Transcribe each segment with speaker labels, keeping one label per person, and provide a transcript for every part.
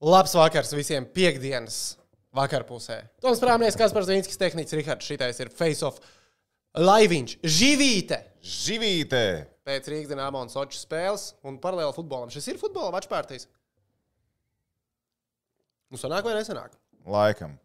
Speaker 1: Labs vakars visiem piekdienas vakarpusē. Toms Prāmnieks, Kaspars Zīnskis, tehnicis Rihards, šitais ir Face of Laiviņš, Živīte!
Speaker 2: Živītē!
Speaker 1: Pēc Rīgas dīnāma un Sočas spēles un paralēli futbolam. Šis ir futbola vačpārtīs. Nu, sanāk vai nesanāk?
Speaker 2: Laikam.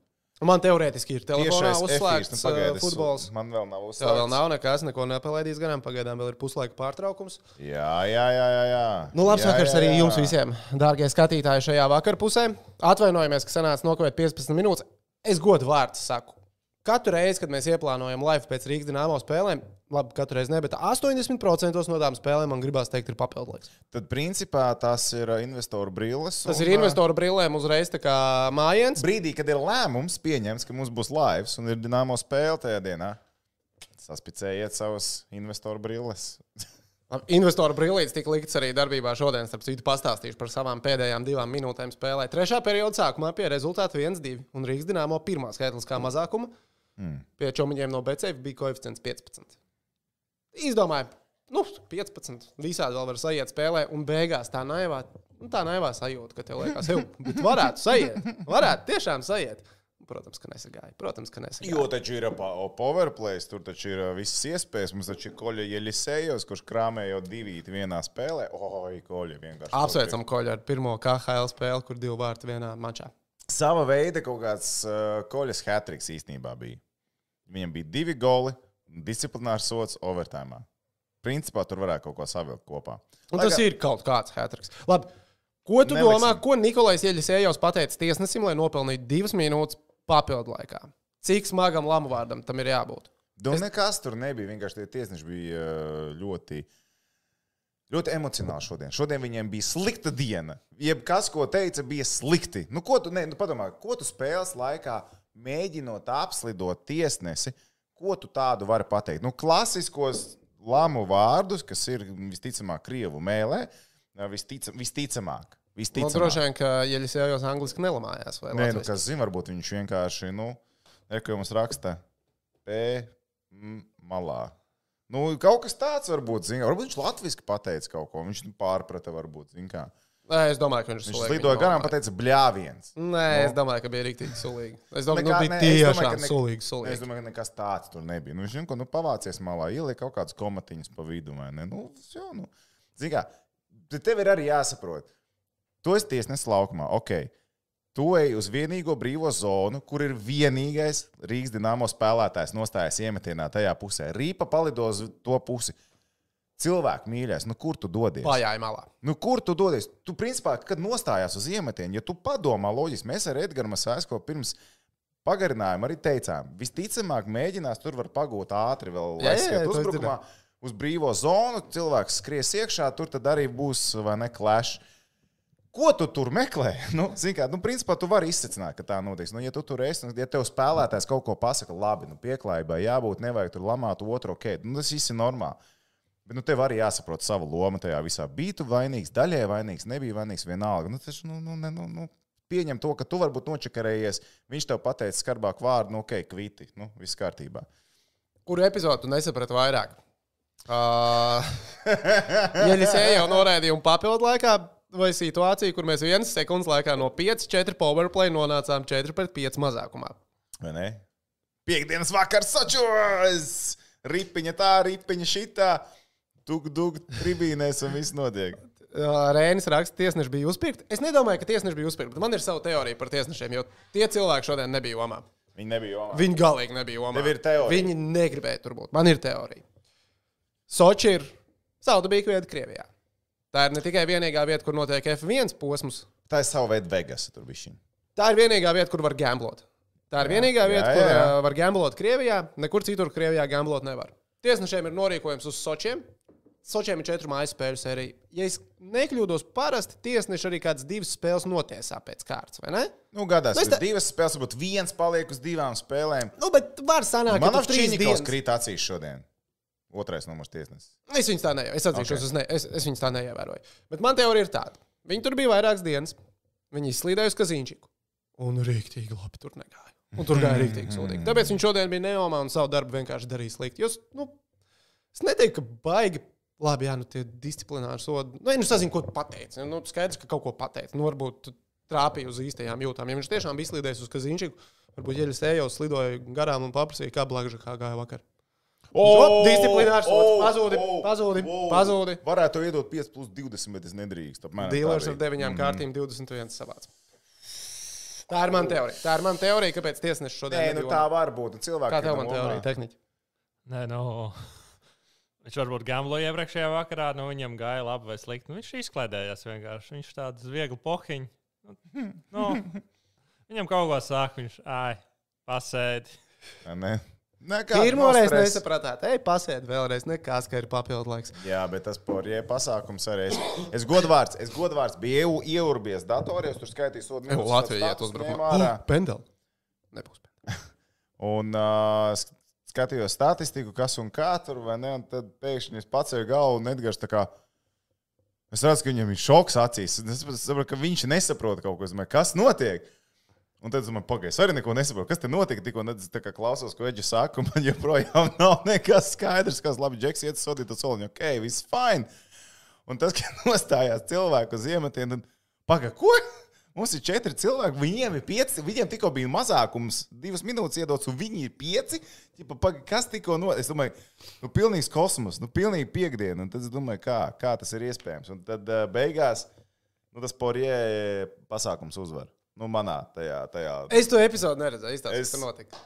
Speaker 1: Man teorētiski ir telefonā
Speaker 2: Tiešais
Speaker 1: uzslēgts
Speaker 2: efīrs, nu,
Speaker 1: nu,
Speaker 2: pagaidi, es-
Speaker 1: futbols.
Speaker 2: Man vēl nav
Speaker 1: Tā vēl
Speaker 2: uzslēgts.
Speaker 1: nav nekas, neko nepalaidīs garām. Pagaidām vēl ir puslaika pārtraukums.
Speaker 2: Jā, jā, jā, jā. jā.
Speaker 1: Nu, labs
Speaker 2: jā,
Speaker 1: vakars
Speaker 2: jā,
Speaker 1: arī
Speaker 2: jā.
Speaker 1: jums visiem, dārgie skatītāji, šajā vakarpusē. Atvainojamies, ka sanāca nokavēt 15 minūtes. Es godu vārdu saku. Katru reizi, kad mēs ieplānojam laivu pēc Rīgas dīnāmo spēlēm, labi, katru reizi ne, bet 80% no tām spēlēm man gribās teikt, ir papildinājums.
Speaker 2: Tad, principā, tas ir uh, investoru brilles.
Speaker 1: Tas
Speaker 2: un,
Speaker 1: ir
Speaker 2: uh,
Speaker 1: investoru brillēm uzreiz tā kā mājiens.
Speaker 2: Brīdī, kad ir lēmums pieņemts, ka mums būs laivs un ir dināmo spēle tajā dienā, saspicējiet savas investoru brilles.
Speaker 1: Labi, Investoru brillītes tika liktas arī darbībā šodien. Starp citu, pastāstīšu par savām pēdējām divām minūtēm spēlē. Trešā perioda sākumā pie rezultāta 1-2 un Rīgas dīnāmo pirmā skaitliskā mazākuma.
Speaker 2: Mm.
Speaker 1: Pie čomiņiem no BCF bija koeficients 15. Izdomāju, nu, 15. Visādi vēl var sajiet spēlē, un beigās tā naivā, nu, tā naivā sajūta, ka tev liekas, jau, bet varētu sajiet. Varētu tiešām sajiet. Protams, ka nesagāja. Protams, ka nesagāja.
Speaker 2: Jo taču ir uh, powerplay, tur taču ir uh, visas iespējas. Mums taču ir koļa Jelisejos, kurš krāmēja divīt vienā spēlē. Oi, koļa vienkārši.
Speaker 1: Apsveicam Koļu ar pirmo KHL spēli, kur divi vārti vienā mačā.
Speaker 2: Sava veida kaut kāds uh, koļas hatriks īstenībā bija. Viņam bija divi goli, disciplinārs sots overtājumā. Principā tur varētu kaut ko savilkt kopā.
Speaker 1: Un tas ir kaut kāds hatriks. Labi, ko tu
Speaker 2: Neliksim.
Speaker 1: Neliksim. domā, ko Nikolais Ieļasējos pateica tiesnesim, lai nopelnītu divas minūtes papildu laikā? Cik smagam lamu vārdam tam ir jābūt? Nu,
Speaker 2: Domāju, es... nekas tur nebija. Vienkārši tie tiesneši bija uh, ļoti. Ļoti emocionāli šodien. Šodien viņiem bija slikta diena. Jebkas, ko teica, bija slikti. Nu, ko tu, ne, nu, padomā, ko tu spēles laikā mēģinot apslidot tiesnesi, ko tu tādu vari pateikt? Nu, klasiskos lamu vārdus, kas ir visticamāk krievu mēlē, visticam, visticamāk.
Speaker 1: Nu,
Speaker 2: visticamāk.
Speaker 1: droši vien, ka Ieļasējos angliski nelamājās. vai
Speaker 2: Nē, nu,
Speaker 1: latviski.
Speaker 2: kas zina, varbūt viņš vienkārši, nu, eko mums raksta, P, M, malā. Nu, kaut kas tāds varbūt, zina, varbūt viņš latviešu pateica kaut ko, viņš nu, pārprata, varbūt, zina, kā.
Speaker 1: Nē, es domāju, ka viņš
Speaker 2: Viņš
Speaker 1: to
Speaker 2: slidoja garām, pateica, bļāviens.
Speaker 1: Nē, es domāju, ka bija rīktīgi sulīgi. Es domāju,
Speaker 2: Nekā-
Speaker 1: ka nu,
Speaker 2: nē,
Speaker 1: bija
Speaker 2: es domāju,
Speaker 1: tiešām
Speaker 2: ka ne-
Speaker 1: sulīgi.
Speaker 2: Nu, Es
Speaker 1: sulīgi.
Speaker 2: domāju, ka nekas tāds tur nebija. Nu, viņš zina, ko nu, pavācies malā, ielika kaut kādas komatiņas pa vidu. vai ne? Nu, jau, nu. Zini, kā, te- tev ir arī jāsaprot, tu esi tiesnesis laukumā. Okay. Tu ej uz vienīgo brīvo zonu, kur ir vienīgais Rīgas dīnāmo spēlētājs nostājies iemetienā tajā pusē. Rīpa palido uz to pusi. Cilvēku mīļais, nu kur tu dodies?
Speaker 1: Pajāja malā.
Speaker 2: Nu, kur tu dodies? Tu, principā, kad nostājās uz iemetienu, ja tu padomā loģiski, mēs ar Edgars Masāsko pirms pagarinājuma arī teicām, visticamāk, mēģinās tur var pagūt ātri vēl
Speaker 1: Jā, jā, jā,
Speaker 2: aizskriet
Speaker 1: to es
Speaker 2: uzbrukumā. Uz brīvo zonu cilvēks skries iekšā, tur tad arī būs vai ne klāšs. Ko tu tur meklē? Nu, zini kā, nu, principā, tu vari izsekot, ka tā notiks. Nu, ja tu tur esi, un ja tev spēlētājs kaut ko pasaka, labi, nu, pieklājībai jābūt, nevajag tur lamāt otru kēdi. Nu, tas viss ir normāli. Bet nu, tev arī jāsaprot sava loma tajā visā. Bija tu vainīgs, daļai vainīgs, nebija vainīgs vienalga. Nu, taču, nu, nu, ne- nu, nu, pieņem to, ka tu varbūt nočakarējies. Viņš tev pateica skarbāku vārdu, nu, ok, kviti. Nu, viss kārtībā.
Speaker 1: Kuru epizodu tu nesaprati vairāk? Uh, Ieļasēja jau noraidīja un papildu laikā. Vai situācija, kur mēs vienas sekundes laikā no 5-4 powerplay nonācām 4-5 mazākumā?
Speaker 2: Vai ne? Piektdienas vakars, sačos! Ripiņa tā, ripiņa šitā. Tuk, duk, tribīnēs un viss notiek.
Speaker 1: Uh, Rēnis raksta, ka tiesneši bija uzpirkti. Es nedomāju, ka tiesneši bija uzpirkti, bet man ir sava teorija par tiesnešiem, jo tie cilvēki šodien nebija omā.
Speaker 2: Viņi nebija jau.
Speaker 1: Viņi galīgi nebija omā.
Speaker 2: Tev ir teorija?
Speaker 1: Viņi negribēja tur būt. Man ir teorija. Soči ir saldabīga vieta Krievijā. Tā ir ne tikai vienīgā vieta, kur notiek F1 posms,
Speaker 2: Tā ir sava veida Vegas, tur bija šī.
Speaker 1: tā ir vienīgā vieta, kur var gamblot. Tā ir vienīgā
Speaker 2: jā,
Speaker 1: vieta,
Speaker 2: jā,
Speaker 1: kur
Speaker 2: jā.
Speaker 1: uh, var gamblot Krievijā. Nekur citur Krievijā gamblot nevar. Tiesnešiem ir norīkojums uz Sočiem. Sočiem ir četru mājas spēļu sērija. Ja es nekļūdos, parasti tiesneši arī kādas divas spēles notiesā pēc kārtas, vai ne?
Speaker 2: Nu, gadās,
Speaker 1: Mēs
Speaker 2: ka
Speaker 1: tā-
Speaker 2: divas spēles, varbūt viens paliek uz divām spēlēm.
Speaker 1: Nu, bet var sanākt,
Speaker 2: Man
Speaker 1: ka
Speaker 2: ir
Speaker 1: tas trīs
Speaker 2: Čīņikovs
Speaker 1: dienas.
Speaker 2: krīt acīs šodien. Otrais numurs tiesnesis.
Speaker 1: Es viņus tā neievēroju. Es atzīšos, okay. ne, es, es viņus tā neievēroju. Bet man teorija ir tāda. Viņi tur bija vairākas dienas. Viņi slīdēja uz Kazīņčiku. Un rīktīgi labi tur negāja. Un tur gāja rīktīgi sūdīgi. Tāpēc viņš šodien bija neomā un savu darbu vienkārši darīja slikti. Jūs, nu, es neteiktu, ka baigi. Labi, jā, nu tie disciplināri sodi. Nu, ja nu sazinu, ko tu pateici. Nu, skaidrs, ka kaut ko pateici. Nu, varbūt tu trāpīja uz īstajām jūtām. Ja viņš tiešām bija slīdējis uz kazīņšiku, varbūt ieļas ejos, slidoja garām un paprasīja, kā blakža kā gāja vakar. Ot, disciplinārs sots. Pazūdi, pazūdi, pazūdi.
Speaker 2: Varētu iedot 5 plus 20, bet es nedrīkstu. apmēram tā
Speaker 1: Dīlers ar
Speaker 2: bija.
Speaker 1: deviņām kārtīm 21 savāds. Tā ir mana teorija. Tā ir mana teorija, kāpēc tiesneši
Speaker 2: Nē,
Speaker 1: šodien
Speaker 2: nu tā var būt. Cilvēki
Speaker 1: Kā tev man teorija, tehniķi?
Speaker 3: Nē, no. Viņš varbūt gambloja iepriekšējā vakarā, nu viņam gāja labi vai slikti. Nu, viņš izklaidējās vienkārši. Viņš tāds viegli pohiņš.
Speaker 2: Hmm.
Speaker 3: Nu, viņam kaut ko sāk, viņš ai, pasēdi.
Speaker 2: Nē, Nē kā
Speaker 1: Pirmoreiz
Speaker 2: no stresa.
Speaker 1: nesapratāt, ej, pasēd vēlreiz, nekās, ka ir papildu laiks.
Speaker 2: Jā, bet tas porjē pasākums arī. Es, es godvārds, es godvārds biju ieu- ieurbies datoros, tur skaitīju sodu minūtes,
Speaker 1: Latvijā
Speaker 2: tāds
Speaker 1: iet
Speaker 2: status
Speaker 1: uzbrukumā.
Speaker 2: ņēma ārā.
Speaker 1: Oh, Pendel. Nebūs. pendel.
Speaker 2: Un uh, skatījos statistiku, kas un kā tur, vai ne? Un tad pēkšņi es pacēlu galvu un Edgars tā kā. Es redzu, ka viņam ir šoks acīs. un Es saprotu- saprotu, ka viņš nesaprot kaut ko. Es domāju, kas notiek? Un tad es domāju, pagaidi, es arī neko nesaprotu. Kas te notika? Tikko un tad es tā kā klausos, ko Edgars saka, un man joprojām nav nekas skaidrs, kas labi Džeks iet sodīt uz soliņu. Ok, viss fine. Un tas, ka nostājās cilvēku uz iemetienu, tad pagaidi, ko? Mums ir četri cilvēki, viņiem ir pieci. Viņiem tikko bija mazākums, divas minūtes iedodas, un viņi ir pieci. Ķipa, paga, kas tikko notic? Es domāju, nu, pilnīgs kosmos, nu, pilnīgi piekdiena. Un tad es domāju, kā, kā tas ir iespējams. Un tad uh, beigās nu, tas porie pasākums uzvar. Nu, manā tajā, tajā.
Speaker 1: Es to epizodu neredzēju, izstāstīju,
Speaker 2: Es-
Speaker 1: kas tur notika.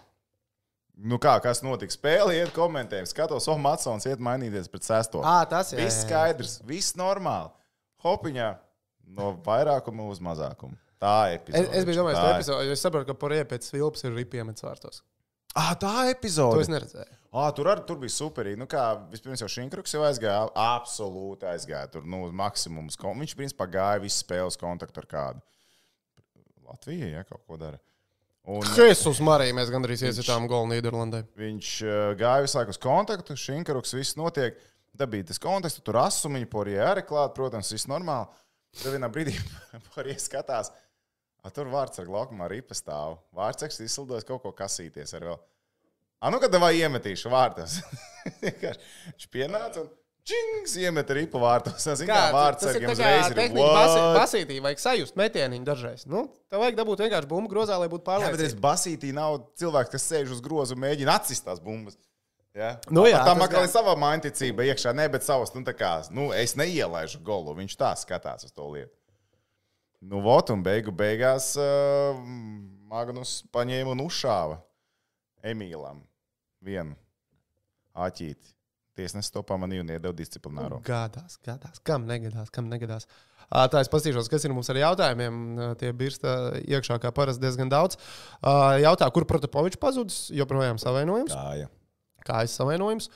Speaker 2: Nu, kā, kas notika? Spēle, iet komentējumi, skatos, oh, Matsons iet mainīties pret sesto.
Speaker 1: Ā, tas ir.
Speaker 2: Viss skaidrs, viss normāli. Hopiņā no vairākuma uz mazākumu. Tā ir
Speaker 1: Es,
Speaker 2: epizode.
Speaker 1: es biju domājis,
Speaker 2: Tā e-
Speaker 1: ka
Speaker 2: ir.
Speaker 1: epizodē, jo es saprotu, ka porē pēc vilpas ir ripiemet svārtos.
Speaker 2: Ah, tā
Speaker 1: To
Speaker 2: epizode.
Speaker 1: es neredzēju.
Speaker 2: Ah, tur, ar, tur bija superīgi. Nu, kā, vispirms jau Šinkrūks jau aizgāja. Absolūti aizgāja. Tur nu, uz maksimumu. Ko- Viņš principā gāja visu spēles kontaktu ar kādu. Latvija ja, kaut ko dara. Un
Speaker 1: Jesus, Marija, mēs gandrīz iesitām golu Nīderlandē.
Speaker 2: viņš eh, gāja visu laiku uz kontaktu. Šinkrūks viss notiek. Dabīja tas konteksts, tur asumiņa porija arī klāt, protams, viss normāli. Tad vienā brīdī porija skatās. A, tur vārds ar laukumā arī pastāv. Vārds izslidojas kaut ko kasīties ar vēl. A, nu, kad vai iemetīšu vārtos. Vienkārši Viņš pienāca un čings iemet ripu vārtos. Es zinu, kā vārds ar
Speaker 1: tas ir
Speaker 2: jums
Speaker 1: tā kā
Speaker 2: uzreiz ir.
Speaker 1: tehnika basi-
Speaker 2: "What?"
Speaker 1: basītī, vajag sajust metieniņu dažreiz. Nu, tev vajag dabūt vienkārši bumbu grozā, lai būtu
Speaker 2: Jā, bet es
Speaker 1: pārliecināts.
Speaker 2: basītī nav cilvēks, kas sēž uz grozu un mēģina atsist tās bumbas. Ja?
Speaker 1: Nu jā,
Speaker 2: tā
Speaker 1: tas
Speaker 2: makā ir
Speaker 1: gan.
Speaker 2: sava mainticība iekšā, ne, bet savas, nu, tā kā, nu, es neielaižu golu, viņš tā skatās uz to lietu. Nu, vot, un beigu beigās uh, Magnus paņēma un uzšāva Emīlam vienu āķīti. Tiesnesis to pamanīja un iedeva disciplināro.
Speaker 1: Gadās, gadās, kam negadās, kam negadās. Ā, Tā es paskatīšos, kas ir mums ar jautājumiem. Ā, Tie birsta iekšā, kā parasti, diezgan daudz. Ā, Jautā, kur Protopovičs pazudis, joprojām savainojums.
Speaker 2: Tā, ja.
Speaker 1: kājas savainojums.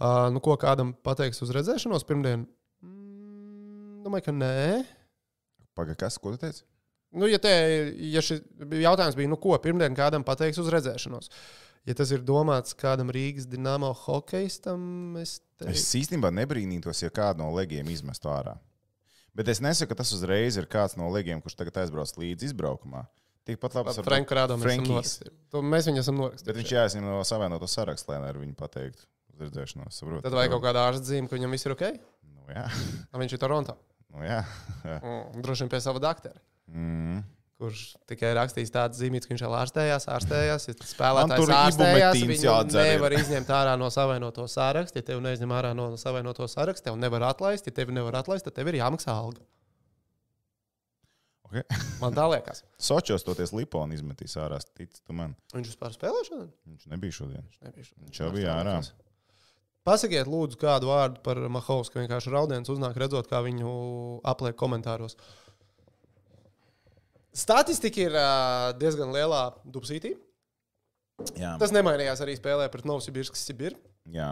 Speaker 1: Uh, nu, ko kādam pateiks uz redzēšanos pirmdien? Mm, Domāju, ka nē.
Speaker 2: Paga, kas, ko tu teici?
Speaker 1: Nu, ja te, ja šis jautājums bija, nu, ko pirmdien kādam pateiks uz redzēšanos, ja tas ir domāts kādam Rīgas dīnāmo hokeistam, es
Speaker 2: Es
Speaker 1: teiktu,
Speaker 2: īstenībā nebrīnītos, ja kādu no legiem izmestu ārā. Bet es nesaku, ka tas uzreiz ir kāds no legiem, kurš tagad aizbrauc līdz izbraukumā. Tikpat labi,
Speaker 1: ka Franka Rādonis ir
Speaker 2: Frankijs.
Speaker 1: norakstīts. Mēs viņu esam
Speaker 2: Bet
Speaker 1: norakstījuši.
Speaker 2: viņš jāizņem no savienoto sarakstu, lai ar viņu pateiktu. uz Redzēšanos, saprotu.
Speaker 1: Tad vajag kaut kāda ārzemju, ka viņam viss ir ok.
Speaker 2: Nu, jā,
Speaker 1: Vai viņš ir Toronto?
Speaker 2: nu, jā.
Speaker 1: Mm, Droši vien pie sava doktora.
Speaker 2: Mm.
Speaker 1: kurš tikai rakstīs tādu zīmīti, ka viņš jau ārstējās, ārstējās. Ja
Speaker 2: Man tur
Speaker 1: spēlētājs ārstējās,
Speaker 2: ibumetīns
Speaker 1: viņu
Speaker 2: jādzer ir.
Speaker 1: nevar izņemt ārā no savainoto sāraksta. Ja tevi neizņem ārā no savainoto sāraksta, tev nevar atlaist. Ja tevi nevar atlaist, tad tev ir jāmaksā alga.
Speaker 2: Okay.
Speaker 1: Man tā liekas.
Speaker 2: Sočos toties Lipona izmetīs ārā, tic tu man.
Speaker 1: Viņš vispār spēlē šodien?
Speaker 2: Viņš nebija šodien.
Speaker 1: Nebija šodien.
Speaker 2: Viņš jau bija ārā.
Speaker 1: Pasakiet, lūdzu, kādu vārdu par Mahovsku. Vienkārši raudiens uznāk, redzot, kā viņu apliek komentāros. Statistika ir ā, diezgan lielā dubsītī.
Speaker 2: Jā,
Speaker 1: Tas nemainījās arī spēlē pret Novsibirskas Sibiru.
Speaker 2: jā.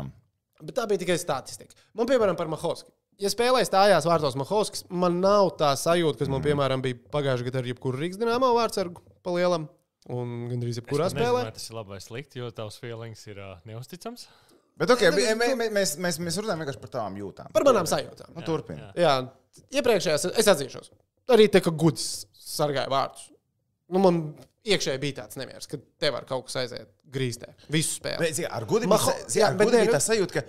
Speaker 1: Bet tā bija tikai statistika. Man, piemēram, par Mahovski. Ja spēlēja stājās vārtos Mahovskis, man nav tā sajūta, kas man,
Speaker 3: Mhm.
Speaker 1: piemēram, bija pagājušajā gadā ar jebkuru Rīgas dīnāmo vārdsargu pa lielam. Un gandrīz jebkurā
Speaker 3: Es nu
Speaker 1: spēlē.
Speaker 3: nezinu, vai tas ir labi vai slikti, jo tavs feelings ir uh, neusticams.
Speaker 2: Bet okay, mē, mē, mēs, mēs, mēs runājam vienkārši par tām jūtām.
Speaker 1: Par manām sajūtām.
Speaker 2: Nu, Turpini.
Speaker 3: jā.
Speaker 1: Jā, iepriekšējās es atzīšos. Arī te, ka gudrs sargāja vārdus. Nu, man iekšēji bija tāds nemieris, ka te var kaut kas aiziet grīstē. Visu spēli.
Speaker 2: Bet, zini, ar gudrību
Speaker 1: Maho-
Speaker 2: Maho...
Speaker 1: jā,
Speaker 2: ar
Speaker 1: bet
Speaker 2: gudrību
Speaker 1: ne-
Speaker 2: tā sajūta, ka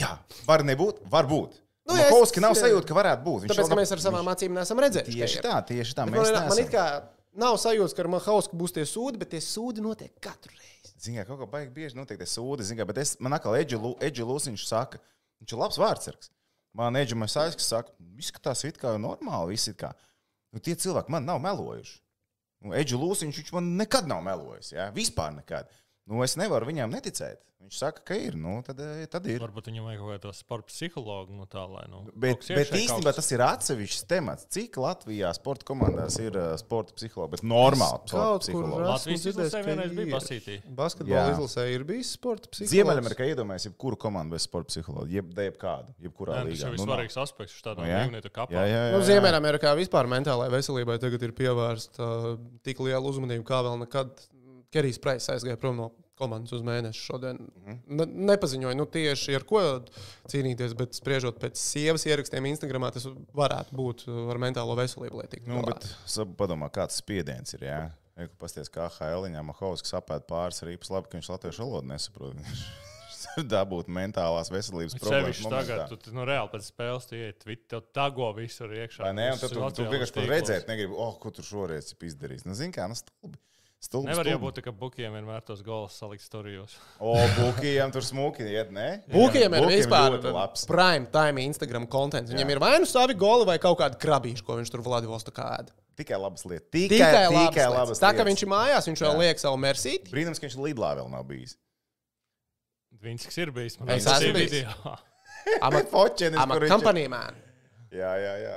Speaker 2: jā, var nebūt, var būt.
Speaker 1: Nu,
Speaker 2: Nu,
Speaker 1: es-
Speaker 2: Makovski nav sajūta, ka varētu būt. Viņš
Speaker 1: Tāpēc,
Speaker 2: vēl nav-
Speaker 1: ka mēs ar savām acīm neesam redzējuši. ka
Speaker 2: Tieši
Speaker 1: ir.
Speaker 2: tā, tieši tā.
Speaker 1: Bet
Speaker 2: Mēs
Speaker 1: Man, ir- man
Speaker 2: neesam.
Speaker 1: it kā nav sajūta, ka ar Mahausku būs tie sūdi, bet tie sūdi notiek katru reizi.
Speaker 2: Ziniet, kaut kā baigi bieži notiek tas sūdi, ziniet, bet es, man atkal Edži Lu- Edži Lūsiņš saka, viņš ir labs vārdsargs. Man Edži Masāļs saka, "Nu, izskatās it kā normāli, viss it kā. Nu, tie cilvēki man nav melojuši. Nu, Edži Lūsiņš viņš man nekad nav melojis, jā, vispār nekad. Nu, es nevaru viņam neticēt. Viņš saka, ka ir, nu, tad, eh, tad ir.
Speaker 3: Varbūt viņam vajag kaut kādu to sporta psihologu. Nu, tā, lai, nu,
Speaker 2: Bet,
Speaker 3: kaut kas
Speaker 2: bet
Speaker 3: iekšē
Speaker 2: īstenībā
Speaker 3: kaut kas-
Speaker 2: tas ir atsevišķs temats. Cik Latvijā sporta komandās ir eh, sporta psihologi, bet normāli sporta psihologi?
Speaker 3: ra- Latvijas izlasē vienreiz bija basītī. nu,
Speaker 1: Basketbola
Speaker 2: Jā.
Speaker 1: izlasē ir bijis sporta psihologs.
Speaker 2: Ziemeļamerikā iedomājas, jebkuru komandu bez sporta psihologa, jeb, jebkādu, jebkurā
Speaker 3: Nē, Tas
Speaker 2: līgā.
Speaker 3: ir
Speaker 2: Nu, nav.
Speaker 3: vislabākais aspekts šādā
Speaker 2: Nu, jā. Jā,
Speaker 3: dzīvnieku kapā.
Speaker 2: jā, jā,
Speaker 1: Nu,
Speaker 2: jā.
Speaker 1: Ziemeļamerikā vispār mentālajai veselībai tagad ir pievērsta uh, tik liela uzmanība, kā vēl nekad. Kerijs Praiss aizgāja prom no komandas uz mēnesi šodien.
Speaker 2: Mhm.
Speaker 1: Ne, nepaziņoja, nu tieši ar ko cīnīties, bet spriežot pēc sievas ierakstiem Instagram, tas varētu būt uh, ar mentālo veselību lietīgi.
Speaker 2: Nu, bet sab- padomā, kāds spiediens ir. Jā. Eku pasties, kā Hailiņā Mahovskis apēd pāris rīpas, labi, ka viņš latviešu valodu nesaprot. Dabūt mentālās veselības problēmas.
Speaker 3: Sevišķi
Speaker 2: momentā.
Speaker 3: tagad, tu, tu nu, reāli pēc spēles, tu iet, vidi, tev dago visur iekšā.
Speaker 2: Vai ne? Un tad
Speaker 3: Visus
Speaker 2: tu, tu
Speaker 3: sociālos
Speaker 2: vienkārši tur
Speaker 3: tīklos.
Speaker 2: redzēt, negribi, oh, ko tur šoreiz ir izdarījis. Nu, zini, kā, nu, stulbi. Stulbi,
Speaker 3: Nevar jau
Speaker 2: stulbi.
Speaker 3: būt, tā, ka bukiem vienmēr tos gols saliks tur jūs.
Speaker 2: O, Bukijam tur smuki iet, ne?
Speaker 1: Būkiem ir
Speaker 2: Bukiem
Speaker 1: vispār
Speaker 2: ļoti labs.
Speaker 1: prime time Instagram konts. Viņam ir vai nu savi goli, vai kaut kāda krabīša, ko viņš tur Vladivostokā ēda.
Speaker 2: Tikai labas lietas.
Speaker 1: Tikai,
Speaker 2: Tikai, tikai
Speaker 1: labas
Speaker 2: labas
Speaker 1: lietas. Tā kā
Speaker 2: lietas.
Speaker 1: viņš ir mājās, viņš vēl
Speaker 2: Jā.
Speaker 1: liek savu mersīti.
Speaker 2: Brīnums, ka viņš Lidlā vēl nav bijis.
Speaker 3: Viņš ir bijis. Man
Speaker 1: Es
Speaker 3: liekas,
Speaker 1: esmu
Speaker 3: bija
Speaker 1: bijis.
Speaker 3: video.
Speaker 2: Ah,
Speaker 1: I'm a,
Speaker 2: Fočenis,
Speaker 1: I'm a
Speaker 2: kur viņš ir.
Speaker 1: company man.
Speaker 2: Jā, jā, jā.